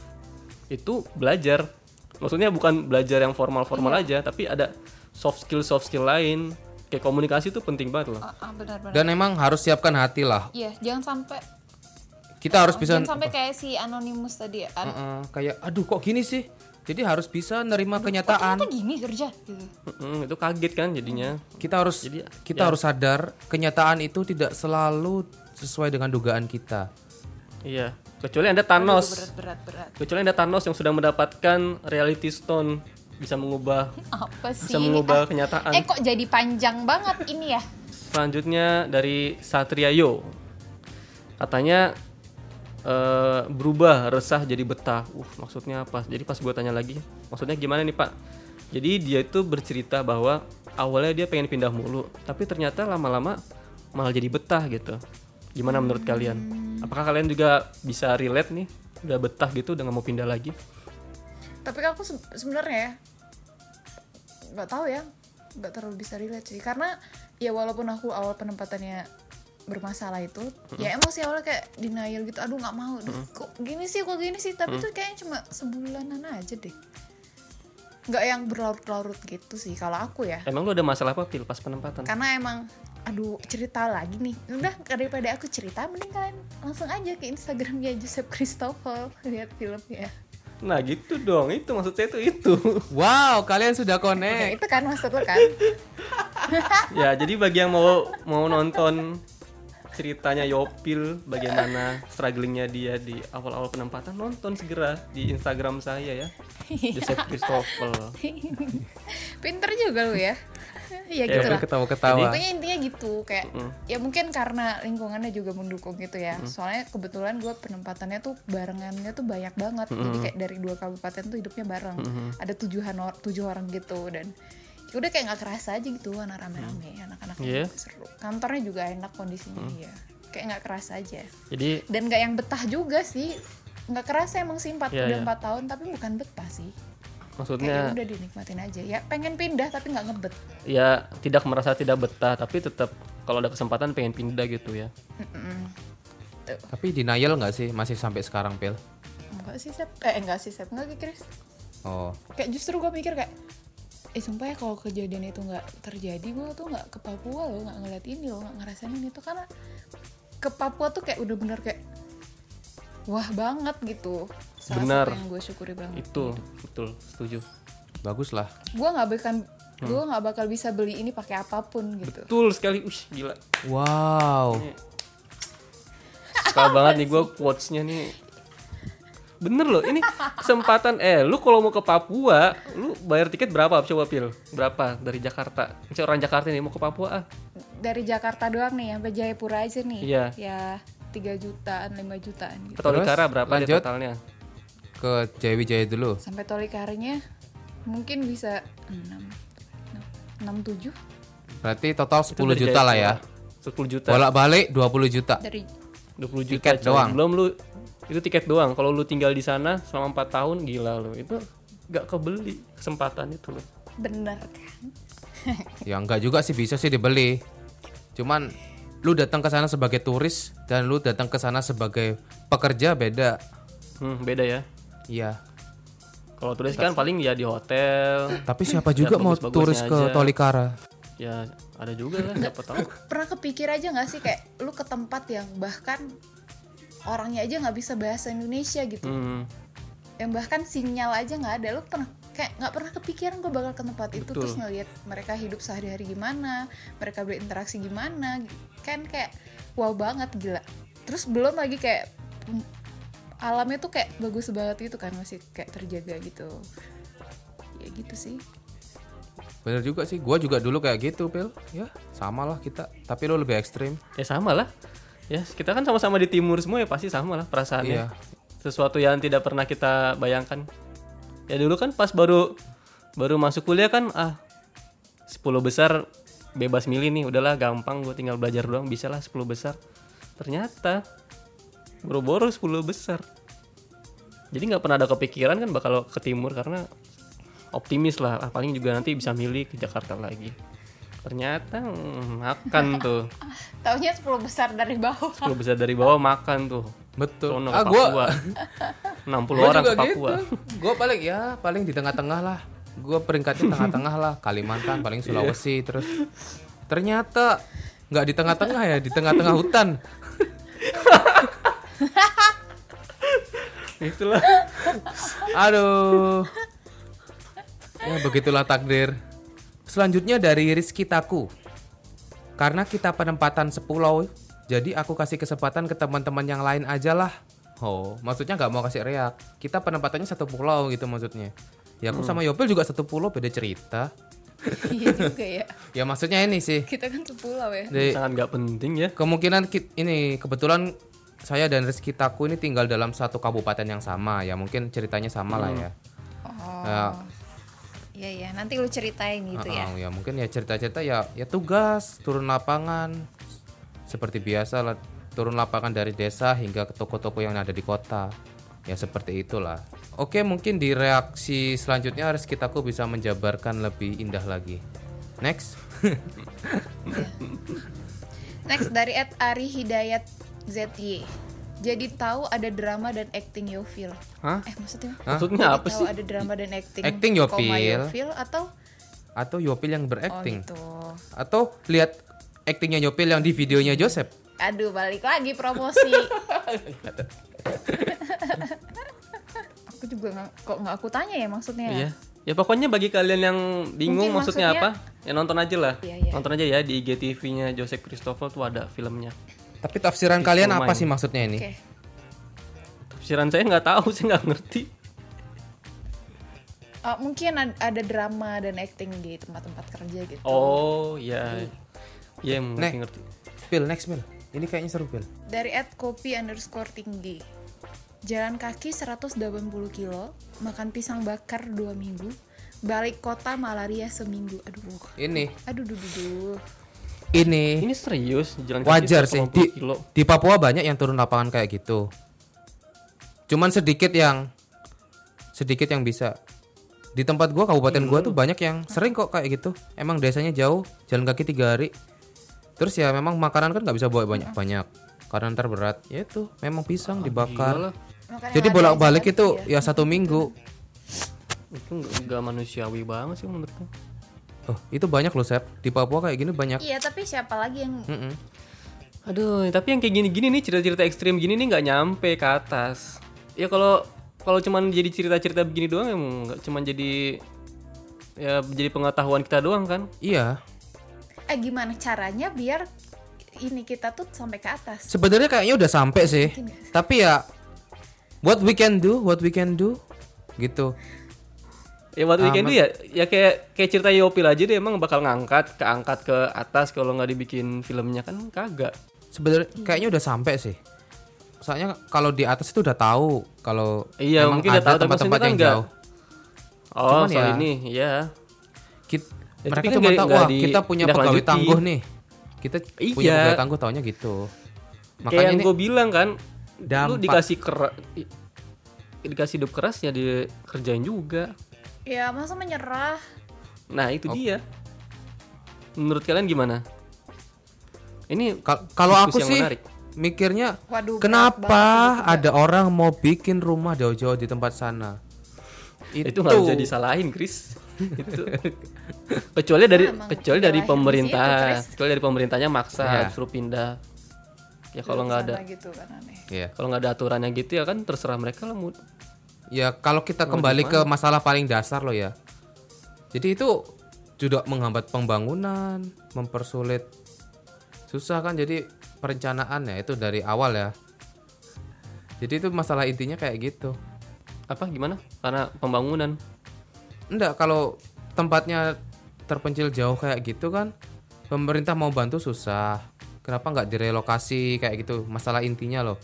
itu belajar.
Iya.
Maksudnya bukan belajar yang formal-formal aja, tapi ada soft skill soft skill lain. Kayak kayak komunikasi itu penting banget loh
Ah, ah, benar benar.
Dan emang harus siapkan hati lah.
Iya, jangan sampai
Kita harus bisa
jangan sampai kayak si anonimus tadi ya. An-
Heeh, kayak aduh kok gini sih. Jadi harus bisa nerima kenyataan.
Ternyata gini kerja gitu.
Mm-mm, itu kaget kan jadinya
Hmm.
kita harus
Jadi, ya.
kita harus sadar kenyataan itu tidak selalu sesuai dengan dugaan kita.
iya kecuali anda Thanos
Berat berat berat.
kecuali anda Thanos yang sudah mendapatkan reality stone bisa
*laughs*
mengubah
Apa sih?
bisa
ini?
mengubah
Ah,
kenyataan
eh kok jadi panjang banget ini ya?
Selanjutnya dari Satria Yo. Katanya eh, berubah resah jadi betah. Uh, maksudnya apa? Jadi pas gue tanya lagi, maksudnya gimana nih, Pak? Jadi dia itu bercerita bahwa awalnya dia pengen pindah mulu, tapi ternyata lama-lama malah jadi betah gitu. Gimana menurut kalian? Apakah kalian juga bisa relate nih? Udah betah gitu udah nggak mau pindah lagi?
Tapi aku se- sebenarnya ya nggak tahu ya, nggak terlalu bisa relate sih karena ya walaupun aku awal penempatannya bermasalah itu, ya emang sih awalnya kayak denial gitu, aduh nggak mau, Duh, kok gini sih, kok gini sih, tapi tuh kayaknya cuma sebulanan aja deh, nggak yang berlarut-larut gitu sih kalau aku ya,
Emang lu ada masalah apa pil pas penempatan?
karena emang aduh cerita lagi nih udah daripada aku cerita mending kalian langsung aja ke instagramnya Joseph Christopher lihat filmnya
Nah gitu dong, itu maksudnya itu itu. *laughs*
Wow, kalian sudah
Ya,
connect.
itu kan maksud lo kan
ya jadi bagi yang mau mau nonton ceritanya Yopil bagaimana strugglingnya dia di awal-awal penempatan nonton segera di Instagram
*laughs*
saya ya
Iya.
Joseph Christopher
pinter juga lo
*laughs*
ya ya gitu
Yopil
lah
ketawa-ketawa.
pokoknya intinya gitu kayak ya mungkin karena lingkungannya juga mendukung gitu ya soalnya kebetulan gue penempatannya tuh barengannya tuh banyak banget jadi kayak dari dua kabupaten tuh hidupnya bareng ada tujuhan or- tujuh orang gitu dan ya udah kayak nggak kerasa aja gitu anak rame-rame anak-anaknya
Iya. Mm.
juga seru kantornya juga enak kondisinya ya kayak nggak kerasa aja
jadi
dan nggak yang betah juga sih nggak kerasa emang sih empat
Iya,
udah
iya.
empat tahun tapi bukan betah sih kayak ya
maksudnya
udah dinikmatin aja ya pengen pindah tapi nggak ngebet
ya tidak merasa tidak betah tapi tetap kalau ada kesempatan pengen pindah gitu ya
Tapi denial nggak sih masih sampai sekarang, Pil?
enggak sih sep eh enggak sih sep enggak Chris
Oh,
kayak justru gue mikir kayak eh sumpah ya kalau kejadian itu nggak terjadi gue tuh nggak ke Papua loh nggak ngeliat ini loh nggak ngerasain ini tuh karena ke Papua tuh kayak udah bener kayak wah banget gitu salah
Benar.
satu yang gue syukuri banget
itu betul setuju
baguslah.
gue nggak bakal
Hmm.
gue nggak bakal bisa beli ini pakai apapun gitu
betul sekali Ush, gila
Wow.
suka banget nih gue quotesnya nih bener loh ini kesempatan eh lu kalau mau ke Papua lu bayar tiket berapa coba pil berapa dari Jakarta Misalnya orang Jakarta nih mau ke Papua ah
dari Jakarta doang nih sampai Jayapura aja nih
Iya.
ya tiga jutaan 5 jutaan gitu
atau
Terus,
Likara berapa dia
lanjut.
totalnya
Ke Jayawijaya dulu.
sampai tolikarnya mungkin bisa 6 6 7
Berarti total 10
Itu dari
juta lah ya.
Jayapura. 10 juta
Bolak-balik 20 juta.
dari
20 juta
Tiket
coy.
doang.
belum lu itu tiket doang kalau lu tinggal di sana selama 4 tahun gila lu itu gak kebeli kesempatan itu loh
bener kan
Ya enggak juga sih bisa sih dibeli. Cuman lu datang ke sana sebagai turis dan lu datang ke sana sebagai pekerja beda.
hmm, beda ya
Iya.
kalau turis kan paling ya di hotel
Tapi siapa juga mau
bagus-bagusnya
turis ke
aja.
Tolikara?
ya ada juga lah siapa tahu
pernah kepikir aja nggak sih kayak lu ke tempat yang bahkan orangnya aja nggak bisa bahasa Indonesia gitu
hmm.
yang bahkan sinyal aja nggak ada lu pernah kayak nggak pernah kepikiran gue bakal ke tempat itu
Betul.
terus ngeliat mereka hidup sehari-hari gimana mereka berinteraksi gimana kan kayak wow banget gila terus belum lagi kayak mm, alamnya tuh kayak bagus banget gitu kan masih kayak terjaga gitu ya gitu sih
Bener juga sih, gua juga dulu kayak gitu, Pil. Ya, sama lah kita. Tapi lo lebih ekstrim.
ya sama lah ya kita kan sama-sama di timur semua ya pasti sama lah perasaannya
Iya.
sesuatu yang tidak pernah kita bayangkan ya dulu kan pas baru baru masuk kuliah kan ah 10 besar bebas milih nih udahlah gampang gue tinggal belajar doang bisa lah 10 besar ternyata boro-boro 10 besar jadi nggak pernah ada kepikiran kan bakal ke timur karena optimis lah ah, paling juga nanti bisa milih ke Jakarta lagi ternyata hmm, makan tuh
taunya 10 besar dari bawah
Lu bisa dari bawah makan tuh.
Betul.
Sono ke
ah,
*laughs*
gua,
Papua. 60
gua
orang
juga
ke Papua.
gitu. Gua paling ya,
Iya.
paling di tengah-tengah lah. Gua peringkatnya tengah-tengah lah. Kalimantan paling Sulawesi terus Ternyata nggak di tengah-tengah ya, di tengah-tengah hutan.
*laughs* Itulah.
Aduh. Ya begitulah takdir. Selanjutnya dari Rizky Taku. Karena kita penempatan sepulau, jadi aku kasih kesempatan ke teman-teman yang lain aja lah. Oh, maksudnya nggak mau kasih reak. Kita penempatannya satu pulau gitu maksudnya. Ya aku sama Yopil juga satu pulau beda cerita.
*laughs* iya juga ya.
Ya maksudnya ini sih.
Kita kan sepulau ya.
Di-
Sangat nggak penting ya.
Kemungkinan ki- ini kebetulan saya dan Rizky Taku ini tinggal dalam satu kabupaten yang sama ya mungkin ceritanya sama lah ya.
Oh.
Ya,
Iya iya, nanti lu ceritain gitu ya.
uh-uh, ya mungkin ya cerita-cerita ya ya tugas turun lapangan seperti biasa lah turun lapangan dari desa hingga ke toko-toko yang ada di kota ya seperti itulah. Oke mungkin di reaksi selanjutnya Rizky Taku bisa menjabarkan lebih indah lagi. Next.
Next dari Ed Ari Hidayat ZY. Jadi tahu ada drama dan acting Yofil.
Hah?
Eh maksudnya?
Maksudnya
Jadi
apa
tahu
sih?
ada drama dan acting.
Acting
koma
Yofil.
Yofil atau
Atau Yopil yang
oh
berakting
gitu.
atau lihat aktingnya Yopil yang di videonya Joseph.
Aduh balik lagi *laughs* promosi. aku juga nggak kok nggak aku tanya ya maksudnya.
Iya. Ya pokoknya bagi kalian yang bingung
Mungkin
maksudnya,
maksudnya-
apa, ya nonton aja lah.
Iya, iya.
Nonton aja ya di IGTV-nya Joseph Christopher tuh ada filmnya.
Tapi tafsiran kalian
Lumayan.
apa sih maksudnya ini?
Oke.
Tafsiran saya nggak tahu, *laughs* saya nggak ngerti.
Eh, mungkin ad- ada drama dan acting di tempat-tempat kerja gitu.
Oh, ya. Iya, ngerti
Nek.
ngerti.
Pil, next Pil. Ini kayaknya seru Pil.
Dari at kopi underscore tinggi. Jalan kaki 180 kilo, makan pisang bakar 2 minggu, balik kota malaria seminggu. Aduh,
Ini,
aduh, duh, duh, duh.
ini
Ini serius jalan kaki
wajar sih.
180
Di,
kilo.
di Papua banyak yang turun lapangan kayak gitu. Cuman sedikit yang sedikit yang bisa. Di tempat gua kabupaten
Hmm.
gua tuh banyak yang sering kok kayak gitu. Emang desanya jauh, jalan kaki tiga hari. Terus ya memang makanan kan nggak bisa bawa banyak-banyak. Karena ntar berat. Ya itu, memang pisang
Ah, Iyalah,
dibakar.
Makan yang
Jadi
ada
bolak-balik
aja kan
itu
kali
ya satu minggu.
itu nggak nggak manusiawi banget sih menurutku.
Oh, itu banyak loh, Sep. Di Papua kayak gini banyak.
Iya, tapi siapa lagi yang
Mm-mm.
Aduh, tapi yang kayak gini-gini nih cerita-cerita ekstrim gini nih nggak nyampe ke atas. Ya kalau kalau cuman jadi cerita-cerita begini doang ya nggak cuman jadi ya jadi pengetahuan kita doang kan.
Iya.
eh gimana caranya biar ini kita tuh sampai ke atas.
Sebenarnya kayaknya udah sampai sih. Tapi ya what we can do, what we can do gitu.
Ya buat weekend tuh ya ya kayak kayak cerita Yopil aja deh emang bakal ngangkat keangkat ke atas kalau nggak dibikin filmnya kan kagak.
Sebenarnya kayaknya udah sampai sih. Soalnya kalau di atas itu udah tahu kalau
Iya
memang
mungkin udah
ada
tahu tapi maksudnya
tempat-tempat
kan
yang
nggak.
jauh.
Oh
Cuman
soal
ya-
ini ya.
Kit-
Ya,
mereka
tapi kan
cuma
nggak-
tahu
nggak
wah
di-
kita punya
tidak
pegawai
lanjuti."
tangguh nih. Kita punya
Iya.
pegawai tangguh taunya gitu.
kayak
Makanya
yang
ini
gue bilang kan, lu
dampak.
dikasih keras dikasih hidup keras ya dikerjain juga.
Ya, masa menyerah?
Nah itu dia. Menurut kalian gimana? Ini
Kal- kalau
diskusi
aku
yang
sih
menarik.
mikirnya
Waduh.
Kenapa ada orang mau bikin rumah jauh-jauh di tempat sana?
itu nggak bisa disalahin, Chris. itu kecuali dari
Emang
kecuali dari
lahir di situ,
pemerintah,
Chris.
kecuali dari pemerintahnya maksa
Iya.
suruh pindah. Ya kalau nggak ada
Sana gitu kan aneh.
Iya.
kalau nggak ada aturannya gitu ya kan terserah mereka lah. mau-
Ya kalau kita kembali ke masalah paling dasar loh ya. Jadi itu juga menghambat pembangunan, mempersulit, susah kan jadi perencanaan ya itu dari awal ya. Jadi itu masalah intinya kayak gitu.
Apa gimana? Karena pembangunan.
Enggak kalau tempatnya terpencil jauh kayak gitu kan pemerintah mau bantu susah. Kenapa nggak direlokasi kayak gitu? Masalah intinya loh.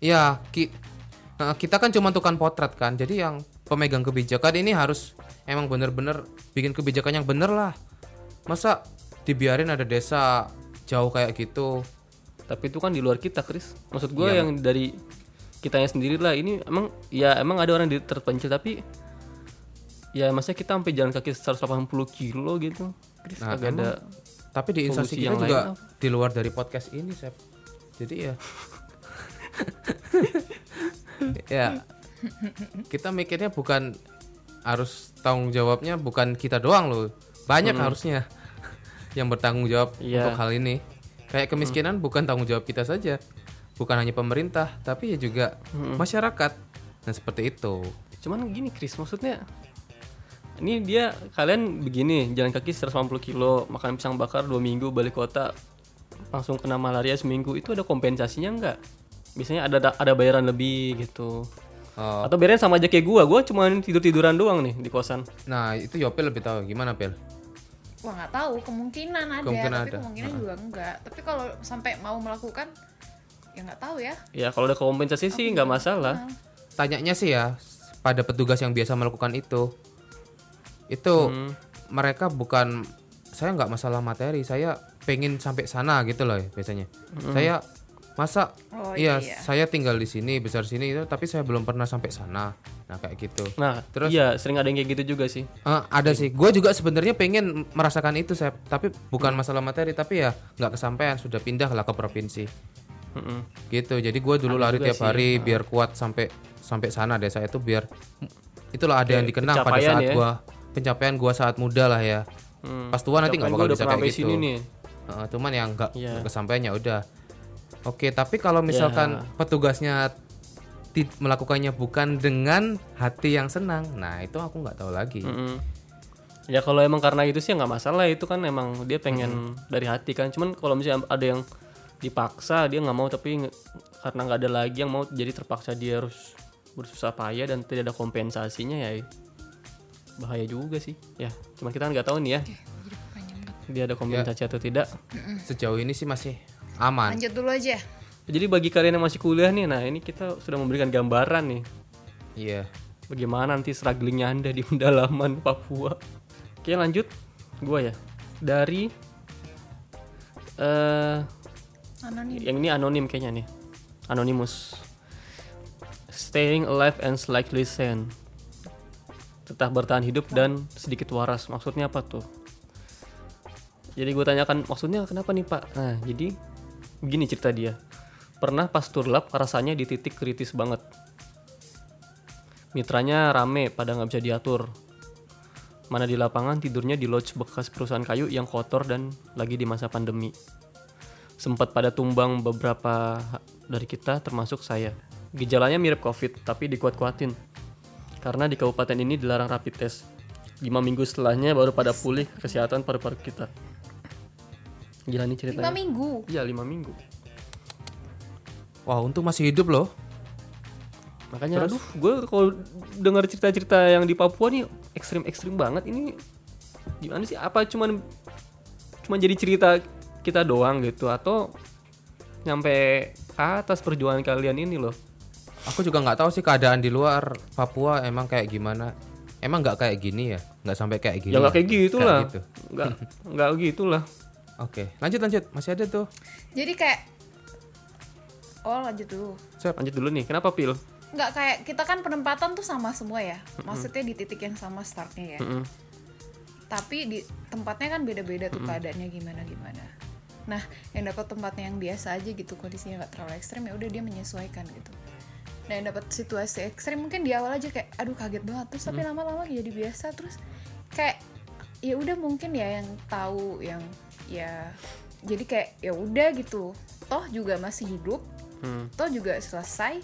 Ya ki- eh, kita kan cuma tukang potret kan. Jadi yang pemegang kebijakan ini harus emang bener-bener bikin kebijakan yang bener lah. Masa dibiarin ada desa jauh kayak gitu?
Tapi itu kan di luar kita, Chris. Maksud gue
Iya,
yang dari kitanya sendiri lah. Ini emang ya emang ada orang di terpencil tapi ya maksudnya kita sampai jalan kaki 180 kilo gitu. Chris
Nah,
kagak ada.
Tapi di instansi
Solusi
kita
yang lain
juga
apa?
di luar dari podcast ini, Sep. Jadi ya ya kita mikirnya bukan harus tanggung jawabnya bukan kita doang loh. Banyak harusnya. yang bertanggung jawab
Hmm. Iya. Hmm.
untuk hal ini. Kayak kemiskinan bukan tanggung jawab kita saja, bukan hanya pemerintah, tapi ya juga
Hmm.
masyarakat. Nah seperti itu.
Cuman gini Chris, maksudnya ini dia kalian begini jalan kaki 180 kilo makan pisang bakar dua minggu balik kota langsung kena malaria seminggu itu ada kompensasinya nggak? Biasanya ada ada bayaran lebih gitu.
Oh,
Atau bayaran sama aja kayak gua, gua cuma tidur tiduran doang nih di kosan.
nah itu Yopil lebih tahu gimana Pel?
Wah nggak tahu kemungkinan ada
Kemungkinan
tapi
ada. Nah.
kemungkinan juga enggak. Tapi kalau sampai mau melakukan ya nggak tahu ya.
Ya kalau ada kompensasi sih nggak masalah.
Tanyanya sih ya pada petugas yang biasa melakukan itu, itu mereka bukan saya nggak masalah materi, saya pengen sampai sana gitu loh ya, biasanya. Saya masa
Oh,
iya,
iya.
saya tinggal di sini besar sini itu tapi saya belum pernah sampai sana. Nah kayak gitu.
Nah,
Terus?
iya sering ada yang kayak gitu juga sih.
Eh, ada sih, gue juga sebenarnya pengen merasakan itu saya, tapi bukan masalah materi, tapi ya nggak kesampaian sudah pindah lah ke provinsi,
Mm-mm.
gitu. Jadi gue
Ada
dulu lari
juga
tiap
sih,
hari biar kuat sampai sampai sana desa itu biar itulah ada yang dikenang pada
Iya, pencapaian
saat
ya.
gue pencapaian gue saat muda lah ya.
Hmm.
Pas tua
Ucapan
nanti
gua
nggak bakal
udah
bisa
pernah
kayak
sampai
gitu.
sini nih.
Heeh, cuman ya nggak
Iya.
nggak kesampaiannya udah. Oke, tapi kalau misalkan petugasnya ti- melakukannya bukan dengan hati yang senang, nah itu aku nggak tahu lagi.
Mm-mm. Ya kalau emang karena itu sih nggak masalah itu kan emang dia pengen dari hati kan. Cuman kalau misalnya ada yang dipaksa dia nggak mau tapi nge- karena nggak ada lagi yang mau jadi terpaksa dia harus bersusah payah dan tidak ada kompensasinya ya bahaya juga sih. Ya cuman kita kan nggak tahu nih ya dia ada kompensasi atau tidak.
Sejauh ini sih masih aman.
Lanjut dulu aja.
Jadi bagi kalian yang masih kuliah nih, nah ini kita sudah memberikan gambaran nih
Iya.
bagaimana nanti strugglingnya anda di *laughs* pendalaman Papua. Oke lanjut, gua ya dari eh
Anonim.
yang ini anonim kayaknya nih, anonymous. Staying alive and slightly sane. Tetap bertahan hidup dan sedikit waras. Maksudnya apa tuh? Jadi gue tanyakan maksudnya kenapa nih pak? Nah jadi begini cerita dia. Pernah pas turlap rasanya di titik kritis banget. Mitranya rame pada nggak bisa diatur. Mana di lapangan tidurnya di lodge bekas perusahaan kayu yang kotor dan lagi di masa pandemi. Sempat pada tumbang beberapa ha- dari kita termasuk saya. Gejalanya mirip covid tapi dikuat-kuatin. Karena di kabupaten ini dilarang rapid test. 5 minggu setelahnya baru pada pulih kesehatan paru-paru kita. Gila nih
Lima
Nah.
ceritanya.
minggu.
Iya 5 minggu.
Wah, untung masih hidup loh.
Makanya aduh, gue kalau dengar cerita-cerita yang di Papua nih ekstrim-ekstrim banget ini gimana sih? Apa cuman cuman jadi cerita kita doang gitu atau nyampe ke atas perjuangan kalian ini loh?
Aku juga nggak tahu sih keadaan di luar Papua emang kayak gimana. Emang nggak kayak gini ya? Nggak sampai kayak gini.
Ya nggak kayak gitulah,
gitu.
nggak nggak gitulah.
Oke, lanjut lanjut. Masih ada tuh.
Jadi kayak Oh lanjut dulu.
Sep.
Lanjut dulu nih, kenapa pil?
Nggak kayak kita kan penempatan tuh sama semua ya. Maksudnya di titik yang sama startnya ya.
Mm-mm.
Tapi di tempatnya kan beda-beda tuh keadaannya gimana gimana. Nah, yang dapat tempatnya yang biasa aja gitu kondisinya nggak terlalu ekstrim ya udah dia menyesuaikan gitu. Nah, yang dapat situasi ekstrim mungkin di awal aja kayak aduh kaget banget terus tapi lama-lama jadi biasa terus kayak ya udah mungkin ya yang tahu yang ya jadi kayak ya udah gitu. Toh juga masih hidup,
Hmm.
toh juga selesai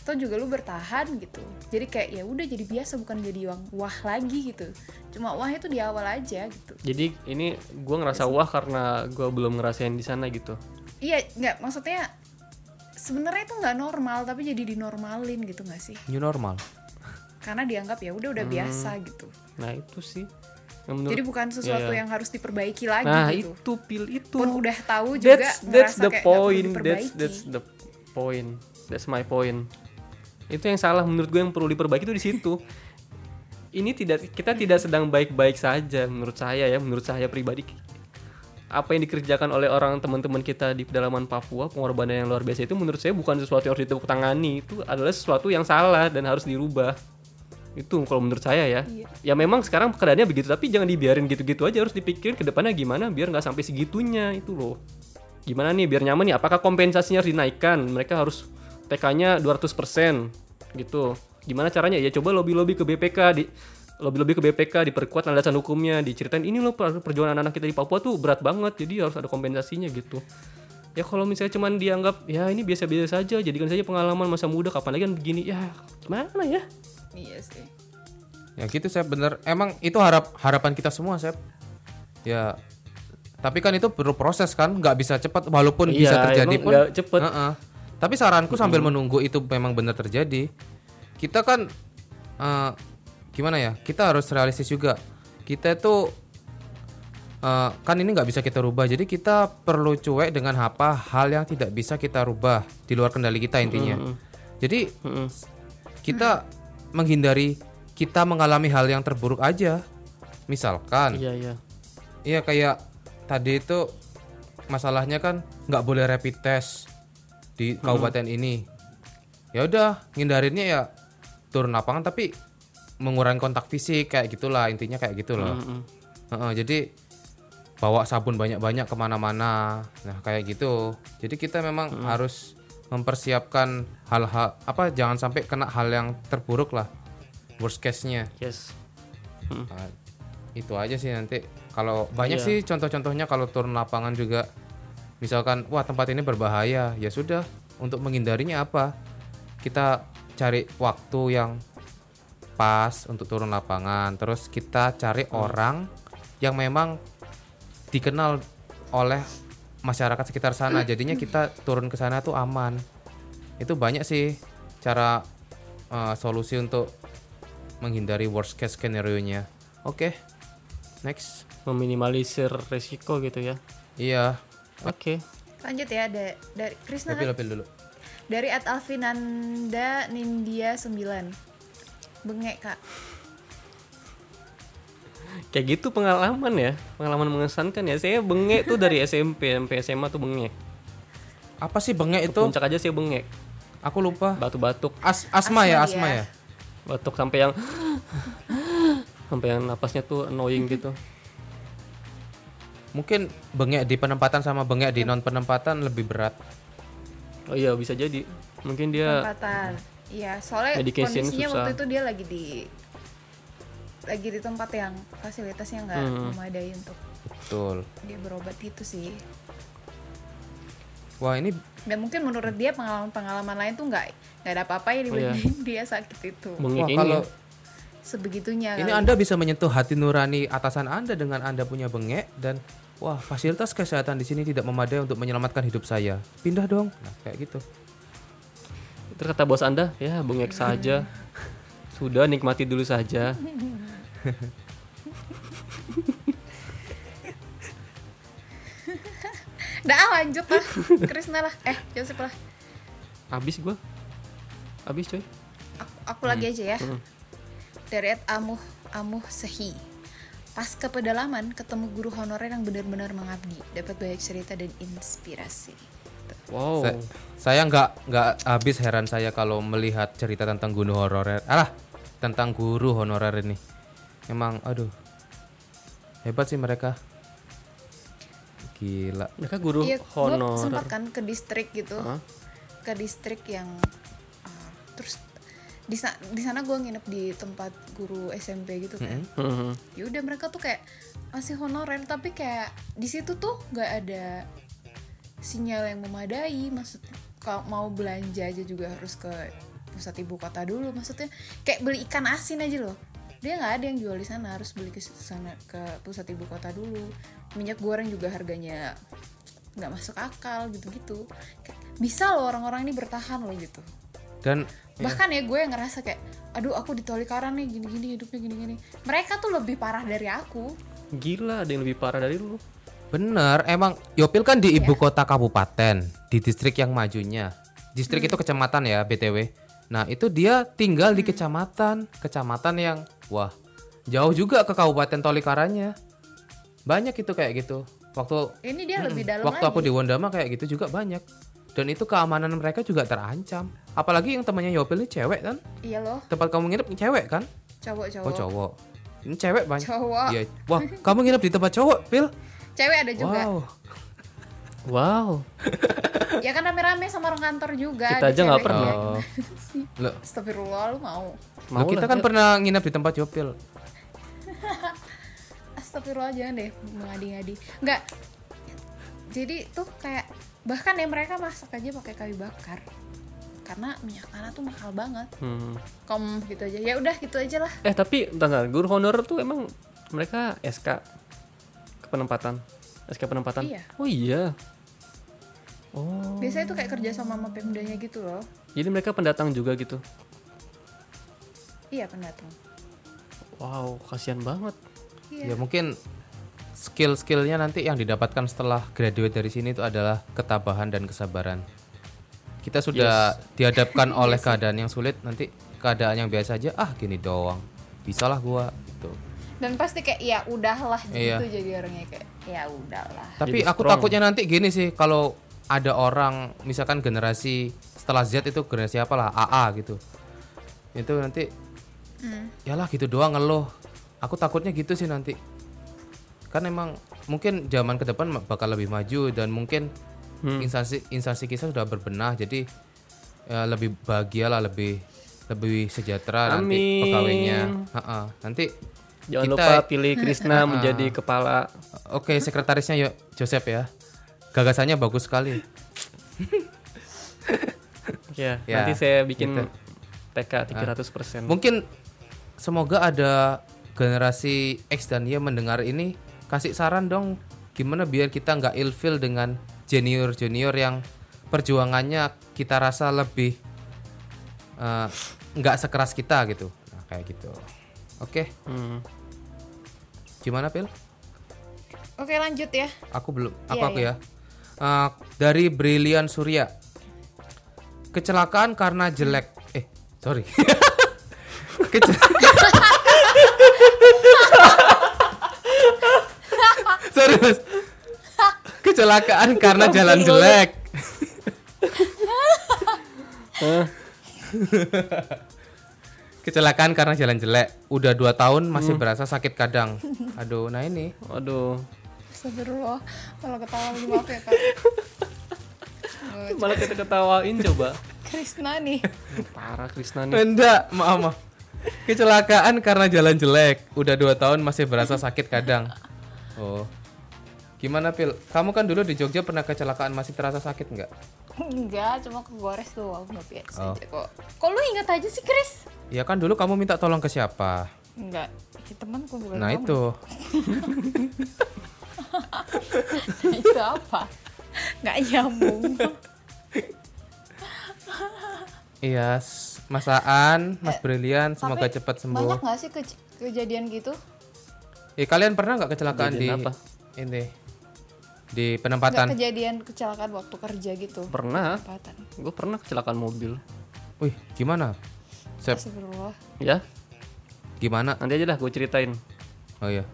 toh juga lu bertahan gitu jadi kayak ya udah jadi biasa bukan jadi yang wah lagi gitu cuma wah itu di awal aja gitu
Jadi ini gue ngerasa wah karena gue belum ngerasain di sana gitu.
iya nggak maksudnya sebenarnya itu nggak normal tapi jadi dinormalin gitu nggak sih
New normal.
karena dianggap ya udah udah biasa gitu
Nah itu sih. Yang menurut,
jadi bukan sesuatu
Hmm. Iya.
yang harus diperbaiki lagi
Nah
gitu
itu pil itu.
pun udah tahu juga
that's that's
ngerasa
the
kayak nggak perlu
point that's
diperbaiki.
that's the point that's my point itu yang salah menurut gue yang perlu diperbaiki itu di situ ini tidak kita tidak sedang baik-baik saja menurut saya ya menurut saya pribadi apa yang dikerjakan oleh orang teman-teman kita di pedalaman Papua pengorbanan yang luar biasa itu menurut saya bukan sesuatu yang harus ditepuk tangani itu adalah sesuatu yang salah dan harus dirubah itu kalau menurut saya ya ya memang sekarang keadaannya begitu tapi jangan dibiarin gitu-gitu aja harus dipikirin ke depannya gimana biar nggak sampai segitunya itu loh gimana nih biar nyaman nih apakah kompensasinya harus dinaikkan mereka harus TK-nya 200% gitu gimana caranya ya coba lobby-lobby ke BPK di lebih-lebih ke BPK diperkuat landasan hukumnya diceritain ini loh per- perjuangan anak kita di Papua tuh berat banget jadi harus ada kompensasinya gitu ya kalau misalnya cuman dianggap ya ini biasa-biasa saja jadikan saja pengalaman masa muda kapan lagi kan begini ya gimana ya
Iya sih.
Ya gitu Sep, bener. Emang itu harap harapan kita semua Sep. Ya, tapi kan itu perlu proses kan, nggak bisa cepat walaupun
Iya,
bisa terjadi
emang
pun.
nggak cepet.
Heeh. Tapi saranku sambil menunggu itu memang benar terjadi, kita kan eh, gimana ya? Kita harus realistis juga. Kita itu eh, kan ini nggak bisa kita rubah, jadi kita perlu cuek dengan apa hal yang tidak bisa kita rubah di luar kendali kita intinya. Jadi
Mm-mm.
kita menghindari kita mengalami hal yang terburuk aja. Misalkan,
iya iya
iya kayak tadi itu masalahnya kan nggak boleh rapid test di kabupaten ini. Ya udah, ngindarinnya ya turun lapangan tapi mengurangi kontak fisik kayak gitulah intinya kayak gitulah.
Mm-mm.
Heeh, jadi bawa sabun banyak-banyak kemana-mana, nah kayak gitu. Jadi kita memang harus mempersiapkan hal-hal apa jangan sampai kena hal yang terburuk lah worst case-nya.
yes
Nah, itu aja sih nanti kalau banyak
Iya.
sih contoh-contohnya kalau turun lapangan juga misalkan wah tempat ini berbahaya ya sudah untuk menghindarinya apa kita cari waktu yang pas untuk turun lapangan terus kita cari orang yang memang dikenal oleh masyarakat sekitar sana jadinya kita turun ke sana tuh aman itu banyak sih cara eh, solusi untuk menghindari worst case scenario nya oke next
meminimalisir resiko gitu ya
iya
oke
Lanjut ya da- dari Krisna kan?
lebih lebih dulu
dari at Alvinanda Nindya 9 bengek kak
kayak gitu pengalaman ya pengalaman mengesankan ya saya bengek tuh dari SMP sampai SMA tuh bengek
apa sih bengek itu
puncak aja saya bengek
aku lupa
batuk-batuk
As- asma, ya asma ya
batuk sampai yang sampai yang napasnya tuh annoying gitu
mungkin bengek di penempatan sama bengek di non penempatan lebih berat
oh iya bisa jadi mungkin dia
tempatan iya soalnya
Medication
kondisinya
susah.
waktu itu dia lagi di lagi di tempat yang fasilitasnya nggak
Hmm.
memadai untuk
betul
dia berobat itu sih
wah ini
dan mungkin menurut dia pengalaman-pengalaman lain tuh nggak nggak ada apa-apa yang
Oh, iya.
dibanding *laughs* dia sakit itu
bengek
wah
ini ya.
kalau
sebegitunya
Ini
kali.
Anda bisa menyentuh hati nurani atasan Anda dengan Anda punya bengek dan wah fasilitas kesehatan di sini tidak memadai untuk menyelamatkan hidup saya. Pindah dong. Nah, kayak gitu.
terus kata bos anda ya bengek saja sudah nikmati dulu saja
Dah ah, lanjut lah
*laughs*
Krisna lah eh Joseph lah
abis gua abis coy
aku, aku lagi
Hmm.
aja ya dari at amuh amuh sehi pas ke pedalaman ketemu guru honorer yang benar-benar mengabdi dapat banyak cerita dan inspirasi
wow
Sa- saya nggak nggak habis heran saya kalau melihat cerita tentang guru honorer. Alah, tentang guru honorer ini. Emang aduh. Hebat sih mereka. Gila.
mereka guru
iya gue
honor
sempat kan ke distrik gitu ke distrik yang uh, terus di sa- di sana gue nginep di tempat guru SMP gitu kan
Mhm.
ya udah mereka tuh kayak masih honorer tapi kayak di situ tuh nggak ada sinyal yang memadai maksud kalau mau belanja aja juga harus ke pusat ibu kota dulu maksudnya kayak beli ikan asin aja loh dia nggak ada yang jual di sana harus beli ke sana ke pusat ibu kota dulu minyak goreng juga harganya nggak masuk akal gitu-gitu Kayak, bisa loh orang-orang ini bertahan loh gitu
Dan
bahkan ya gue yang ngerasa kayak aduh aku ditolak karena nih gini-gini hidupnya gini-gini mereka tuh lebih parah dari aku
gila ada yang lebih parah dari lu
Bener, emang Yopil kan di
Iya.
ibu kota kabupaten, di distrik yang majunya. Distrik
Hmm.
itu kecamatan ya, BTW. Nah, itu dia tinggal di kecamatan, kecamatan yang wah, jauh juga ke kabupaten Tolikaranya. Banyak itu kayak gitu. Waktu
ini dia lebih dalam
waktu
lagi
aku di Wondama kayak gitu juga banyak. Dan itu keamanan mereka juga terancam. Apalagi yang temannya Yopil ini cewek kan?
iya loh
Tempat kamu nginep cewek kan?
cowok cowok
Oh, cowok. Ini cewek banyak.
Cowok.
Iya. Wah, kamu nginep di tempat cowok, Pil?
cewek ada juga
Wow.
wow
ya kan rame-rame sama orang kantor juga
Kita
ada
aja nggak
ceweknya.
pernah.
Oh. Loh,
Astagfirullah lu mau
Loh, kita
lah,
kan
Jok.
pernah nginep di tempat Yopil.
Astagfirullah jangan deh mengadi-ngadi. Enggak. Jadi tuh kayak bahkan ya mereka masak aja pakai kayu bakar. Karena minyak tanah tuh mahal banget.
Hmm.
Kom gitu aja. Ya udah gitu aja lah.
Eh tapi bentar, bentar, guru honorer tuh emang mereka SK kepenempatan. SK penempatan.
Iya.
Oh iya. Oh.
Biasanya tuh kayak kerja sama sama pemdanya gitu loh.
Jadi mereka pendatang juga gitu.
Iya pendatang.
Wow, kasihan banget.
Ya
Iya.
mungkin skill-skillnya nanti yang didapatkan setelah graduate dari sini itu adalah ketabahan dan kesabaran. Kita sudah dihadapkan oleh keadaan yang sulit, nanti keadaan yang biasa aja, ah gini doang, bisalah gua gitu.
Dan pasti kayak ya udahlah
Iya.
gitu jadi orangnya kayak ya udahlah.
Tapi
Jadi
aku
strong.
takutnya nanti gini sih kalau ada orang misalkan generasi setelah Z itu generasi apalah AA gitu. Itu nanti yalah gitu doang ngeluh. Aku takutnya gitu sih nanti. Kan emang mungkin zaman ke depan ma- bakal lebih maju dan mungkin
Hmm.
instansi instansi kita sudah berbenah jadi ya, lebih bahagialah lebih lebih sejahtera nanti
Amin.
pegawainya. Ha-ha. Nanti
Jangan
Kita-
lupa pilih Krishna
*laughs*
menjadi kepala.
Oke, sekretarisnya yo Joseph ya. Gagasannya bagus sekali.
Ya,
Ya,
nanti saya bikin
gitu.
TK 300%.
Mungkin semoga ada generasi X dan Y mendengar ini kasih saran dong gimana biar kita nggak ilfil dengan junior-junior yang perjuangannya kita rasa lebih eh, nggak sekeras kita gitu. Nah, kayak gitu. Oke,
Hmm.
gimana Pil?
Oke lanjut ya.
Aku belum. Aku
Iya,
aku ya. Eh, dari Brilian Surya. Kecelakaan karena jelek. Eh, sorry. *laughs* Kece- *laughs* sorry, Mas. Kecelakaan karena jalan jelek. Kecelakaan karena jalan jelek. Udah dua tahun masih berasa sakit kadang. Aduh, nah ini.
Aduh,
Astagfirullah. Kalau ketawa mohon maaf ya Kak.
malah kita ketawain coba.
*laughs*
*laughs*
Krisna nih.
Parah Krishna nih.
Eh, Enggak, maaf maaf. Kecelakaan karena jalan jelek. Udah dua tahun masih berasa sakit kadang. Oh. Gimana Pil? Kamu kan dulu di Jogja pernah kecelakaan masih terasa sakit nggak?
Enggak, cuma kegores doang nggak biasa
Oh.
aja kok. Kok lu ingat aja sih, Kris?
Ya kan dulu kamu minta tolong ke siapa?
Enggak, ya, temanku bukan
Nah
kamu.
itu.
*laughs* itu apa? Enggak *laughs* nyambung.
Iya, s- Mas Aan, Mas Brilian, semoga
Eh, Tapi
cepat
Banyak
sembuh.
nggak sih kej- kejadian gitu?
Eh, kalian pernah nggak kecelakaan
Kejadian
di
apa?
ini? Di
Enggak
penempatan.
kejadian kecelakaan waktu kerja gitu.
Pernah,
Perempatan.
gue pernah kecelakaan mobil.
Wih, gimana? Sep,
Astagfirullah.
Ya,
gimana?
nanti aja dah gue ceritain.
Oh iya.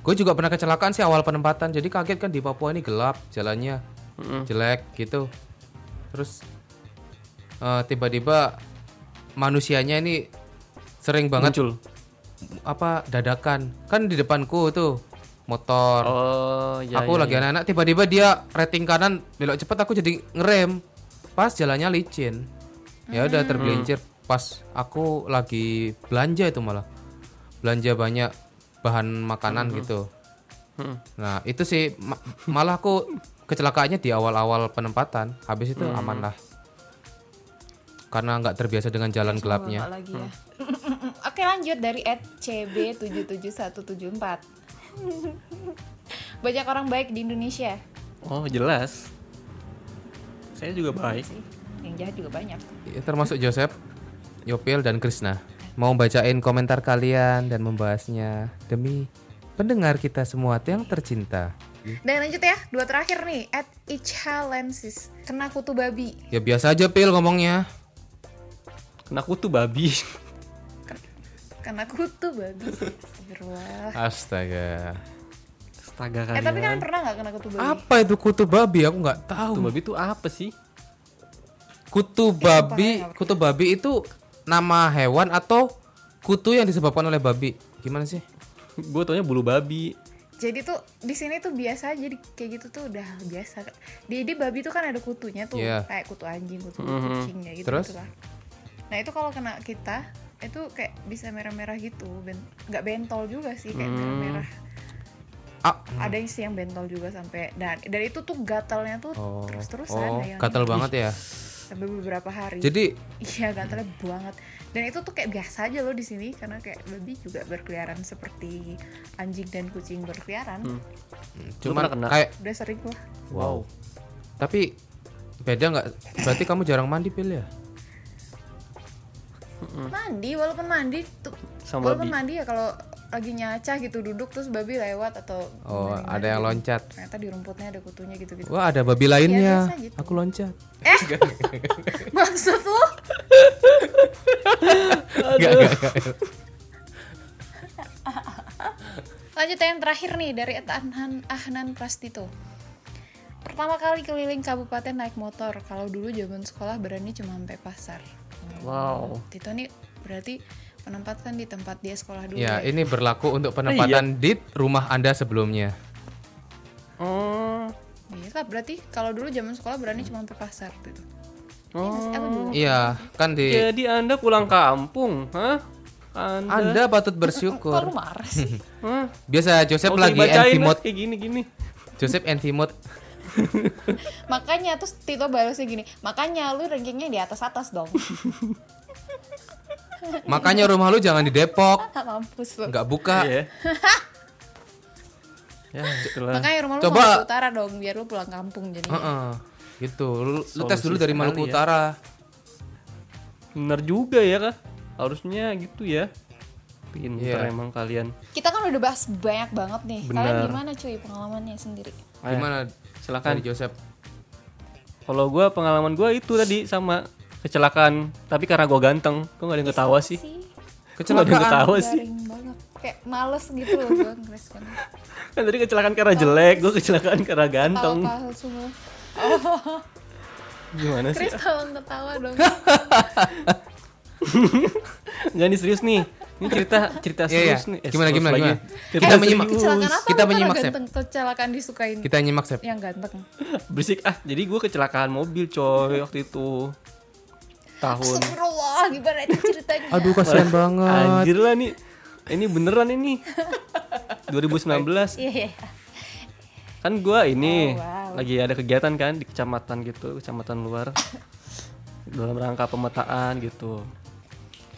Gue juga pernah kecelakaan sih awal penempatan. Jadi kaget kan di Papua ini gelap jalannya. Jelek gitu. Terus eh, tiba-tiba manusianya ini sering banget
Muncul.
apa dadakan. Kan di depanku tuh motor.
Oh, ya.
aku
ya,
lagi anak-anak tiba-tiba dia rating kanan belok cepat aku jadi ngerem. Pas jalannya licin. Ya udah tergelincir pas aku lagi belanja itu malah. Belanja banyak bahan makanan gitu.
Hmm.
Nah itu sih ma- malah aku kecelakaannya di awal-awal penempatan. Habis itu aman lah. Karena nggak terbiasa dengan jalan gelapnya.
Bapak lagi ya. Oke, lanjut dari *laughs* @cb77174. Banyak orang baik di Indonesia.
Oh, jelas. Saya juga baik.
sih. Yang jahat juga banyak.
Ya, Termasuk Joseph, Yopil dan Krishna. Mau bacain komentar kalian dan membahasnya demi pendengar kita semua yang tercinta.
Dan lanjut ya, dua terakhir nih, at Ichalensis. Kena kutu babi.
Ya biasa aja Pil ngomongnya.
Kena kutu babi. *laughs*
Kena kutu babi. *laughs* Astagfirullah.
Astaga.
Astaga
Eh tapi kalian
kalian.
pernah nggak kena kutu babi?
Apa itu kutu babi? Aku nggak tahu.
Kutu babi itu apa sih?
Kutu babi, kutu babi itu nama hewan atau kutu yang disebabkan oleh babi? Gimana sih?
Gue taunya bulu babi.
Jadi tuh di sini tuh biasa jadi kayak gitu tuh udah hal biasa. Di di babi tuh kan ada kutunya tuh
Iya. Mm-hmm.
kayak kutu anjing, kutu kucing ya gitu
Terus?
gitulah. Nah itu kalau kena kita
Mm-hmm.
itu kayak bisa merah-merah gitu, ben- nggak bentol juga sih kayak merah-merah.
Ah,
Ada yang sih yang bentol juga sampai dan dan itu tuh gatalnya tuh
oh,
terus-terusan
oh,
dayangnya.
gatel banget ya.
sampai beberapa hari.
Jadi
Iya gatalnya banget. Dan itu tuh kayak biasa aja loh di sini karena kayak babi juga berkeliaran seperti anjing dan kucing berkeliaran.
pernah
cuman
kena?
kayak
Udah sering lah.
wow. Tapi beda nggak? Berarti kamu jarang mandi pil ya?
Mandi walaupun mandi tuh
Sama babi.
walaupun mandi ya kalau lagi nyacah gitu duduk terus babi lewat atau
Oh,
gimana
ada yang
gitu.
loncat. Oh.
Ternyata di rumputnya ada kutunya gitu-gitu.
Wah ada babi
Iya,
lainnya.
biasa gitu.
Aku loncat.
*laughs* Maksud lo?
Nggak, nggak, nggak.
Lanjut yang terakhir nih dari Ed Ahnan, Ahnan Prastito. Pertama kali keliling kabupaten naik motor. Kalau dulu zaman sekolah berani cuma sampai pasar. Hmm.
Wow.
Tito nih berarti menempatkan di tempat dia sekolah dulu.
*laughs* Ya ini berlaku untuk
Iya.
penempatan di rumah anda sebelumnya.
Oh,
Iya lah, berarti kalau dulu zaman sekolah berani cuma sampai pasar gitu. Iya nggak sih? Aku dulu.
Iya kan di
jadi Anda pulang kampung, hah? Anda,
Anda patut
Kok lu
bersyukur.
marah
*laughs*
sih?
hah?
Biasa Joseph
Mau
lagi
dibacain
anti
Mas,
mode.
kayak gini-gini.
Joseph anti mode.
makanya terus Tito balasnya gini, makanya lu rankingnya di atas-atas dong. *laughs*
Makanya rumah lu jangan di Depok.
Mampus lu.
Nggak buka.
*laughs* Iya. ya, itulah.
Makanya rumah lu
Coba-
Maluku Utara dong, biar lu pulang kampung jadi.
Heeh. Gitu. Lu, lu tes
Solusi
dulu dari
sekali
Maluku
ya.
Utara.
Bener juga ya, Kak. Harusnya gitu ya. Pinter
Iya.
emang kalian.
Kita kan udah bahas banyak banget nih. Kalian
Benar.
gimana cuy pengalamannya sendiri?
Ayo,
Gimana?
Ah, ya. silakan.
Dari Joseph.
Kalau gua pengalaman gua itu tadi sama kecelakaan, tapi karena gua ganteng, kok gak ada yang ketawa sih?
Iya
Kok gak ada
Sih,
yang
Kecelakaan.
ketawa sih?
garing banget. Kayak males gitu
*laughs*
loh gue ngerespon.
Kan tadi kecelakaan karena jelek, gua kecelakaan karena
Tawa
ganteng.
palsu semua.
Gimana sih?
Chris tolong ketawa dong.
Jangan ini serius nih. Ini cerita cerita
Iya, iya.
serius nih. Eh,
Gimana,
serius
gimana,
lagi.
gimana?
Cerita
Kita
Eh,
menyimak.
serius.
Kecelakaan apa?
Kita
Lu kan
menyimak, Sep.
ganteng. Kecelakaan disukain
Kita nyimak Sep.
yang ganteng.
Berisik ah. Jadi gua kecelakaan mobil coy waktu itu. Tahun.
Astagfirullah, Oh, gimana itu ceritanya?
Aduh kasihan banget.
Anjir lah nih. Ini beneran
*laughs*
ini. 2019.
Iya, iya.
kan gua ini
Oh, wow.
lagi ada kegiatan kan di kecamatan gitu kecamatan luar dalam rangka pemetaan gitu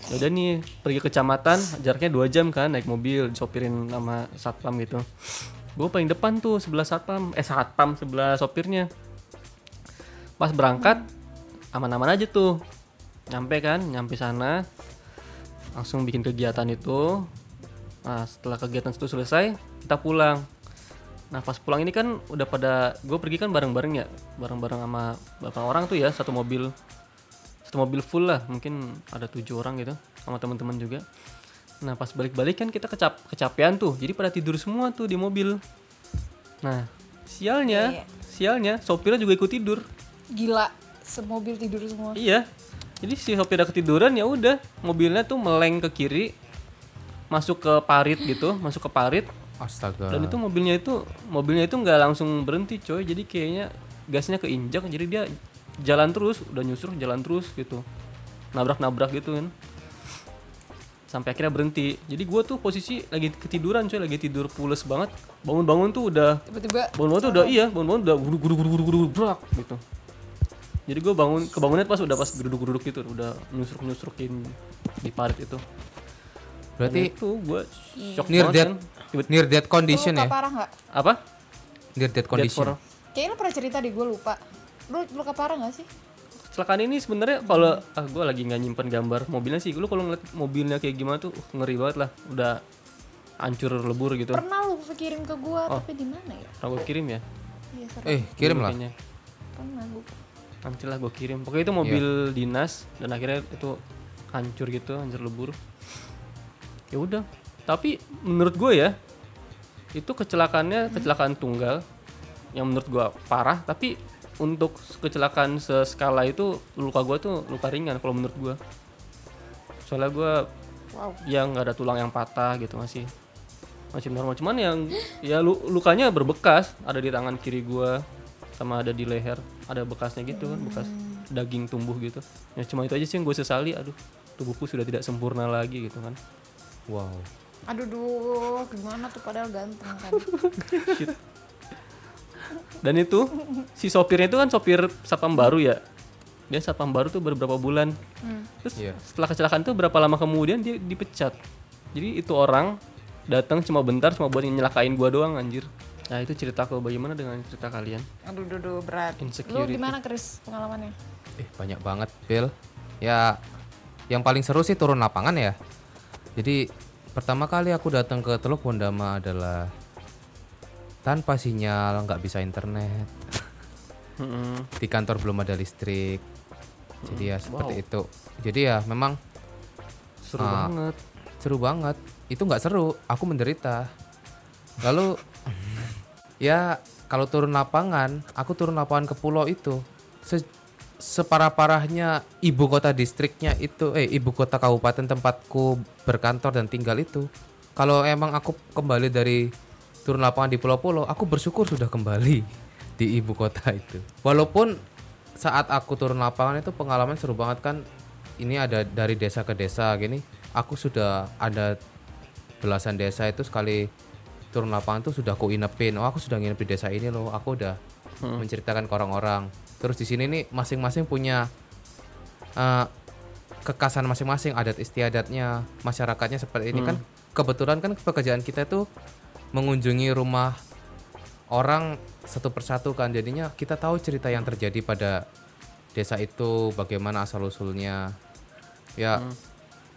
Ya udah nih pergi ke kecamatan jaraknya dua jam kan naik mobil disopirin sama satpam gitu gue paling depan tuh sebelah satpam eh satpam sebelah sopirnya pas berangkat aman-aman aja tuh nyampe kan nyampe sana langsung bikin kegiatan itu nah setelah kegiatan itu selesai kita pulang nah pas pulang ini kan udah pada gue pergi kan bareng-bareng ya bareng-bareng sama beberapa orang tuh ya satu mobil satu mobil full lah mungkin ada tujuh orang gitu sama teman-teman juga nah pas balik-balik kan kita kecap kecapean tuh jadi pada tidur semua tuh di mobil nah sialnya sialnya sopirnya juga ikut tidur
Gila, semobil tidur semua.
Iya. Jadi si sopir udah ketiduran ya udah mobilnya tuh meleng ke kiri masuk ke parit gitu, masuk ke parit
Astaga.
dan itu mobilnya itu mobilnya itu nggak langsung berhenti coy. Jadi kayaknya gasnya keinjak jadi dia jalan terus, udah nyusur jalan terus gitu. Nabrak-nabrak gitu kan. Sampai akhirnya berhenti. Jadi gua tuh posisi lagi ketiduran coy, lagi tidur pules banget. Bangun-bangun tuh udah
Tiba-tiba
bangun-bangun tuh udah iya bangun-bangun udah guru guru guru guru guru brak gitu jadi gue bangun kebangunnya pas udah pas geruduk geruduk gitu udah nyusruk nyusrukin di parit itu
Berarti
itu gue shock
near
banget
death
kan. Tiba-
near death
lu
condition
luka
ya.
parah nggak?
apa
Near death
death for
condition.
Kayaknya lu pernah cerita deh, gue lupa. Lu luka parah nggak sih?
kecelakaan ini sebenarnya kalau ah gue lagi nggak nyimpan gambar mobilnya sih lu kalau ngeliat mobilnya kayak gimana tuh uh, ngeri banget lah udah hancur lebur gitu
Pernah lu kirim ke gue,
Oh.
tapi di mana ya?
pernah gue kirim ya
Iya, seru.
Eh, kirim lah.
kayaknya
Pernah gue.
nanti lah gue kirim pokoknya itu mobil dinas dan akhirnya itu hancur gitu hancur lebur ya udah tapi menurut gue ya itu kecelakaannya kecelakaan tunggal yang menurut gue parah tapi untuk kecelakaan seskala itu luka gue tuh luka ringan kalau menurut gue soalnya gue
Wow.
yang nggak ada tulang yang patah gitu masih masih normal cuman yang ya lu- lukanya berbekas ada di tangan kiri gua sama ada di leher ada bekasnya gitu kan bekas daging tumbuh gitu ya cuma itu aja sih yang gue sesali aduh tubuhku sudah tidak sempurna lagi gitu kan
Wow.
Aduh duh, gimana tuh padahal ganteng kan.
Dan itu si sopirnya itu kan sopir satpam baru ya. Dia satpam baru tuh baru beberapa bulan. Terus
Iya.
setelah kecelakaan tuh berapa lama kemudian dia dipecat. Jadi itu orang datang cuma bentar cuma buat nyelakain gua doang anjir. Nah, itu ceritaku bagaimana dengan cerita kalian?
Aduh duh, duh berat. Lu
Insecurity.
gimana Chris pengalamannya?
Eh, banyak banget, Bill. Ya, yang paling seru sih turun lapangan ya. Jadi, pertama kali aku datang ke Teluk Bondama adalah tanpa sinyal, nggak bisa internet.
Mm-mm.
Di kantor belum ada listrik. Jadi
Hmm,
ya seperti itu. Jadi ya memang
Seru
Ah.
banget.
seru banget. Itu nggak seru, aku menderita. Lalu ya kalau turun lapangan, aku turun lapangan ke pulau itu. Se- separah-parahnya ibu kota distriknya itu eh ibu kota kabupaten tempatku berkantor dan tinggal itu. Kalau emang aku kembali dari turun lapangan di pulau-pulau, aku bersyukur sudah kembali *laughs* di ibu kota itu. Walaupun saat aku turun lapangan itu pengalaman seru banget kan. Ini ada dari desa ke desa gini. Aku sudah ada belasan desa itu sekali turun lapangan tuh sudah aku inepin. Oh, aku sudah nginep di desa ini loh. Aku udah menceritakan ke orang-orang. Terus di sini nih masing-masing punya eh, kekasan masing-masing, adat istiadatnya, masyarakatnya seperti ini kan. Kebetulan kan pekerjaan kita itu mengunjungi rumah orang satu persatu kan. Jadinya kita tahu cerita yang terjadi pada desa itu, bagaimana asal-usulnya. Ya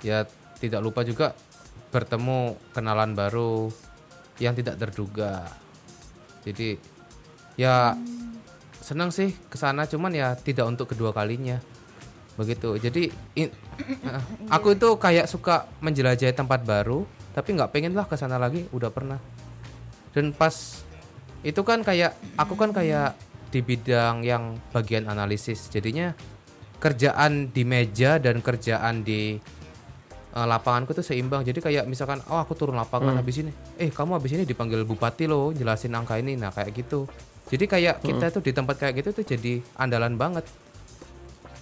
ya tidak lupa juga bertemu kenalan baru yang tidak terduga. Jadi ya senang sih kesana cuman ya tidak untuk kedua kalinya begitu. Jadi in- eh, aku itu kayak suka menjelajahi tempat baru tapi nggak pengen lah kesana lagi udah pernah. Dan pas itu kan kayak aku kan kayak di bidang yang bagian analisis jadinya kerjaan di meja dan kerjaan di eh, lapanganku tuh seimbang jadi kayak misalkan oh aku turun lapangan habis ini eh kamu habis ini dipanggil bupati loh jelasin angka ini nah kayak gitu jadi kayak kita tuh di tempat kayak gitu tuh jadi andalan banget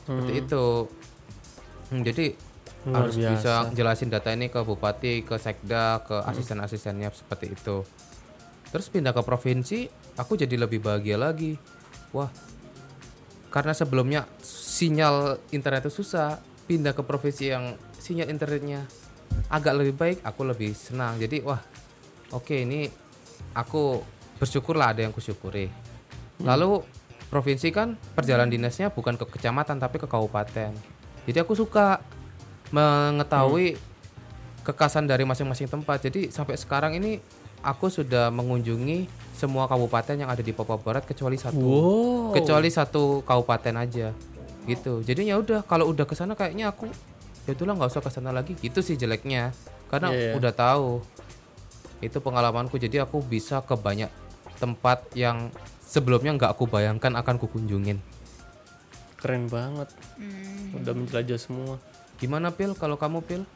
seperti itu Hmm, jadi
Luar
harus
biasa. Hmm.
bisa jelasin data ini ke bupati ke sekda ke asisten-asistennya seperti itu terus pindah ke provinsi aku jadi lebih bahagia lagi wah karena sebelumnya sinyal internet itu susah pindah ke provinsi yang sinyal internetnya agak lebih baik aku lebih senang jadi wah oke ini aku bersyukurlah ada yang kusyukuri lalu provinsi kan perjalanan dinasnya bukan ke kecamatan tapi ke kabupaten jadi aku suka mengetahui kekasan dari masing-masing tempat jadi sampai sekarang ini aku sudah mengunjungi semua kabupaten yang ada di Papua Barat kecuali satu
Wow.
kecuali satu kabupaten aja gitu jadi ya udah kalau udah kesana kayaknya aku ya itulah nggak usah kesana lagi gitu sih jeleknya karena
Iya, iya.
udah tahu itu pengalamanku jadi aku bisa ke banyak tempat yang sebelumnya nggak aku bayangkan akan kukunjungin
Keren banget.
Hmm.
Udah menjelajah semua.
gimana pil kalau kamu pil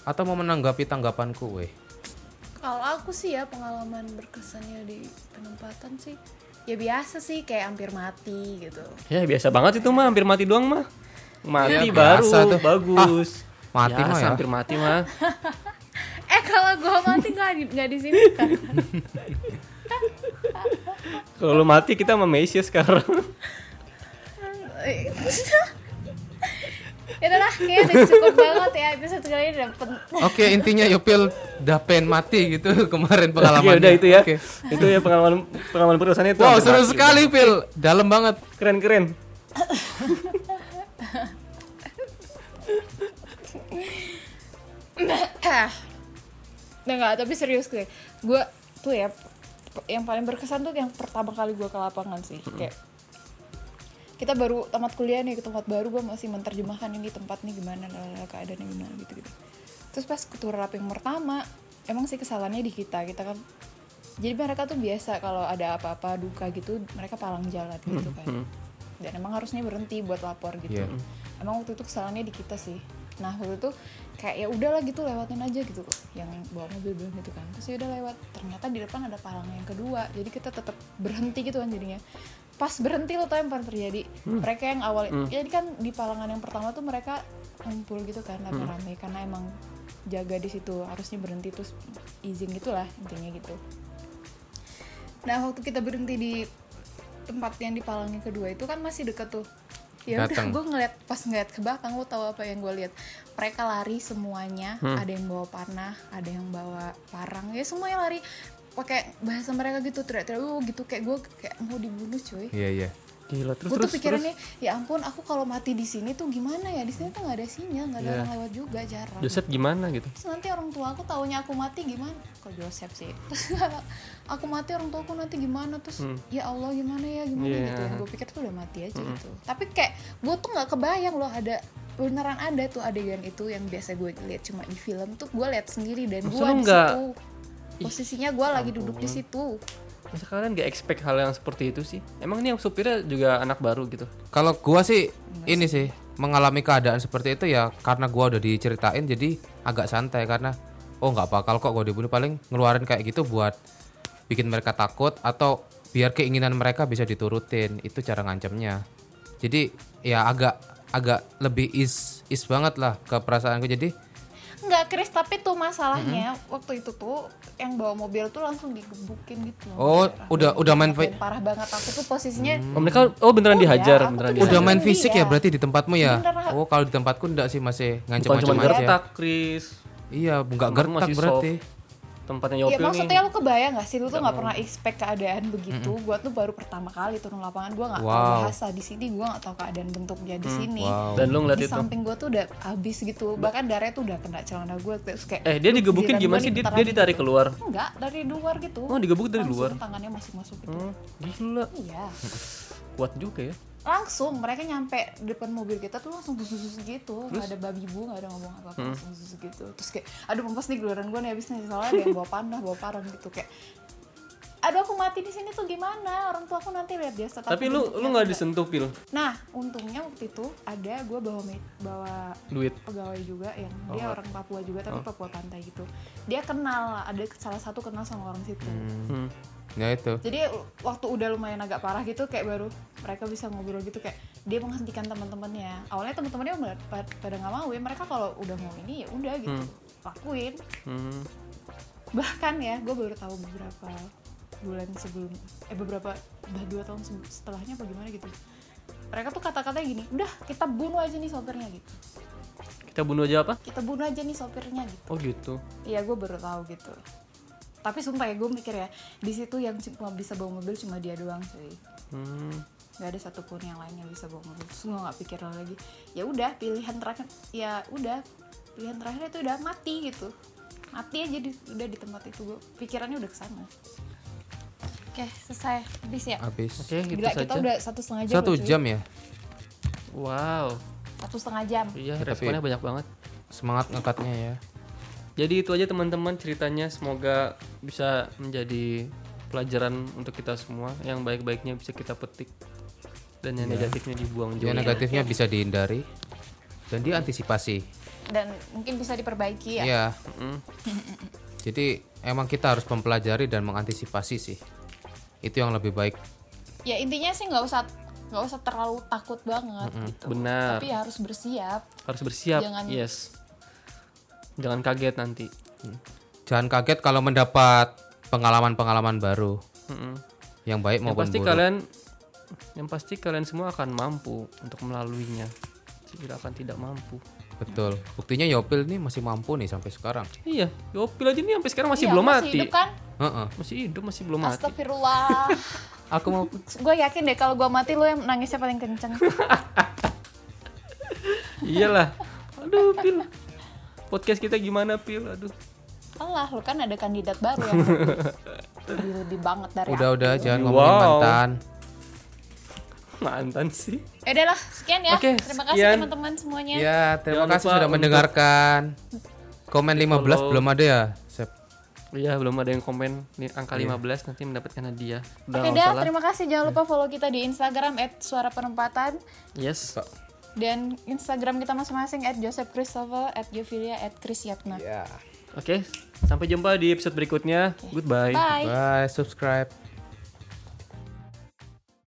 atau mau menanggapi tanggapanku weh
Kalau aku sih ya pengalaman berkesannya di penempatan sih ya biasa sih kayak hampir mati gitu.
Ya biasa banget itu mah, hampir mati doang mah. Mati
Ya,
baru
biasa tuh.
bagus.
Ah, mati mah
Biasa,
ya.
hampir mati mah.
Eh kalau gua mati nggak di nggak di sini kan?
Kalau lu mati kita sama Mesia sekarang.
ya udah lah, kayaknya udah cukup banget ya episode kali ini udah pen-
oke intinya ya pil udah pengen mati gitu *laughs* kemarin *laughs*
Oke,
pengalamannya
udah itu ya.
Oke.
Itu ya pengalaman pengalaman perusahaan itu.
wow
hampir
seru
mati.
sekali pil dalam banget
Keren-keren.
Nah nggak, tapi serius gue, gue tuh ya p- yang paling berkesan tuh yang pertama kali gue ke lapangan sih, kayak kita baru tamat kuliah nih ke tempat baru gue masih menerjemahkan ini tempat nih gimana lalala, keadaannya gimana gitu gitu. Terus pas ke tour yang pertama, emang sih kesalahannya di kita, kita kan jadi mereka tuh biasa kalau ada apa-apa duka gitu mereka palang jalan gitu kan. Dan emang harusnya berhenti buat lapor
Iya.
gitu. Emang waktu itu kesalahannya di kita sih. Nah waktu itu kayak ya udahlah gitu lewatin aja gitu yang bawa mobil bilang gitu kan terus ya udah lewat ternyata di depan ada palang yang kedua jadi kita tetap berhenti gitu kan jadinya pas berhenti lo tau yang paling terjadi mereka yang awal jadi kan di palangan yang pertama tuh mereka kumpul gitu kan rame-rame karena emang jaga di situ harusnya berhenti terus izin gitulah intinya gitu nah waktu kita berhenti di tempat yang di Palangi kedua itu kan masih deket tuh ya udah
Datang.
gue ngeliat pas ngeliat ke belakang gue tahu apa yang gue lihat mereka lari semuanya
Hmm.
ada yang bawa panah ada yang bawa parang ya semuanya lari pakai bahasa mereka gitu teriak-teriak "Uh," gitu kayak gue kayak mau dibunuh cuy
Iya iya.
Gila, terus
gue
terus
tuh
terus.
pikirannya ya ampun aku kalau mati di sini tuh gimana ya di sini tuh nggak ada sinyal nggak ada
Iya.
orang lewat juga jarang
Joseph gimana gitu?
terus nanti orang tua aku taunya aku mati gimana kok Joseph sih terus *laughs* aku mati orang tua aku nanti gimana terus
Hmm.
ya Allah gimana ya gimana
Iya.
gitu gue pikir tuh udah mati aja gitu tapi kayak gue tuh nggak kebayang loh ada beneran ada tuh adegan itu yang biasa gue lihat cuma di film tuh gue lihat sendiri dan
Masa
gue
lu
di
nggak-
situ posisinya gue lagi duduk di situ
Masa kalian gak expect hal yang seperti itu sih? Emang ini yang supirnya juga anak baru gitu?
Kalau gua sih ini sih mengalami keadaan seperti itu ya karena gua udah diceritain jadi agak santai karena oh nggak bakal kok gua dibunuh paling ngeluarin kayak gitu buat bikin mereka takut atau biar keinginan mereka bisa diturutin itu cara ngancamnya. Jadi ya agak agak lebih is is banget lah ke perasaanku jadi
Enggak, Chris, tapi tuh masalahnya
Hmm.
waktu itu tuh yang bawa mobil tuh langsung digebukin gitu loh.
oh
Beneran.
udah udah main fi- Hmm.
Dan parah banget aku tuh posisinya
Oh, mereka oh beneran
Udah,
dihajar,
aku
beneran
tuh
dihajar.
udah main
Iya.
fisik ya berarti di tempatmu ya.
Bener.
Oh kalau di tempatku enggak sih masih
Bukan cuma
ngancam-ngancam aja.
gertak, Chris.
Iya, enggak
Tempatmu
gertak
masih
berarti.
soft. Tempatnya
ya
Yopil
maksudnya
nih.
lu kebayang gak sih lu tuh nggak pernah expect keadaan begitu. Gua tuh baru pertama kali turun lapangan, gua nggak tahu
Wow.
bahasa di sini, gua nggak tahu keadaan bentuknya di sini.
Wow.
Dan lu Mm, ngeliat
Di
itu.
samping gua tuh udah habis gitu, bahkan darahnya tuh udah kena celana gua terus kayak
Eh, dia digebukin
giliran
gimana
gua
sih? Dia,
dibentar
dia
lagi
ditarik
gitu.
keluar.
Enggak, dari luar gitu.
Oh, digebuk dari
Langsung
luar.
Tangannya masuk-masuk gitu.
Oh, gila.
Iya.
Kuat juga ya.
langsung mereka nyampe depan mobil kita tuh langsung susu gitu nggak ada babi bu nggak ada ngomong apa
Hmm.
apa langsung susu gitu terus kayak aduh pempas nih geluran gue nih abis nih soalnya ada yang bawa panah bawa parang gitu kayak aduh aku mati di sini tuh gimana orang tua aku nanti lihat dia tetap
Tapi lu lu
bentuknya
nggak
enggak."
disentuh pil
nah untungnya waktu itu ada gue bawa med- bawa
duit.
pegawai juga yang
Oh.
dia orang Papua juga tapi Papua pantai gitu dia kenal lah, ada salah satu kenal sama orang situ
Hmm.
Ya itu.
jadi waktu udah lumayan agak parah gitu kayak baru mereka bisa ngobrol gitu kayak dia menghentikan teman-temannya awalnya teman-temannya pada- pada nggak mau ya mereka kalau udah mau ini ya udah gitu lakuin
Hmm.
bahkan ya gue baru tahu beberapa bulan sebelum eh beberapa udah dua tahun se- setelahnya apa gimana gitu mereka tuh kata-katanya gini udah kita bunuh aja nih sopirnya gitu
Kita bunuh aja apa?
kita bunuh aja nih sopirnya gitu
Oh gitu.
Iya gue baru tahu gitu. Tapi sumpah ya gue mikir ya di situ yang cuma bisa bawa mobil cuma dia doang cuy.
Hmm.
Gak ada satupun yang lain yang bisa bawa mobil. Terus gue nggak pikir lagi. Ya udah pilihan terakhir ya udah pilihan terakhir itu udah mati gitu. Mati aja di- udah di tempat itu gue pikirannya udah kesana. Oke selesai habis ya.
Habis.
Oke, gitu
Gila
saja.
kita udah satu setengah jam.
Satu
loh, cuy.
jam ya.
Wow.
Satu setengah jam.
Iya,
Tapi-
responnya banyak banget.
Semangat ngekatnya ya.
Jadi itu aja teman-teman ceritanya semoga bisa menjadi pelajaran untuk kita semua. Yang baik-baiknya bisa kita petik dan yang negatifnya dibuang jauh.
Yang negatifnya bisa dihindari dan diantisipasi.
Dan mungkin bisa diperbaiki ya.
Iya. Jadi emang kita harus mempelajari dan mengantisipasi sih. Itu yang lebih baik.
Ya intinya sih nggak usah nggak usah terlalu takut banget gitu.
Benar.
Tapi harus bersiap.
Harus bersiap.
Jangan-
Yes. Jangan kaget nanti.
Jangan kaget kalau mendapat pengalaman-pengalaman baru
Mm-mm.
yang baik
Yang
maupun
Ya, pasti
buruk.
kalian yang pasti kalian semua akan mampu untuk melaluinya. Tidak akan tidak mampu.
Betul. Buktinya Yopil nih masih mampu nih sampai sekarang.
Iya, Yopil aja nih sampai sekarang masih
Iya,
belum
masih
mati.
hidup kan?
Heeh.
Masih hidup, masih belum mati.
Astagfirullah.
*laughs*
Aku mau
Iya.
gue yakin deh kalau gue mati lo yang nangisnya paling
*laughs*
kenceng.
Iyalah. Aduh, Pil. Podcast kita gimana, Pil? Aduh.
Allah, lo kan ada kandidat baru
*laughs*
yang lebih lebih banget dari aku.
udah-udah jangan
Wow.
ngomongin mantan.
Mantan sih.
Ya udah lah, sekian ya.
Oke,
Terima kasih
sekian.
teman-teman semuanya.
Ya,
Jangan
terima
lupa
kasih sudah
untuk-
mendengarkan. Komen 15
follow.
belum ada ya, Sep?
Iya, belum ada yang komen nih angka 15 nanti mendapatkan hadiah. Udah
Oke
nggak
dah,
usah lah.
terima kasih. Jangan lupa follow kita di Instagram @suaraperempatan
Yes.
dan Instagram kita masing-masing @josephchristopher, @yofilia, @krisyatna.
Ya.
Oke, sampai jumpa di episode berikutnya. Goodbye.
Bye.
Bye, subscribe.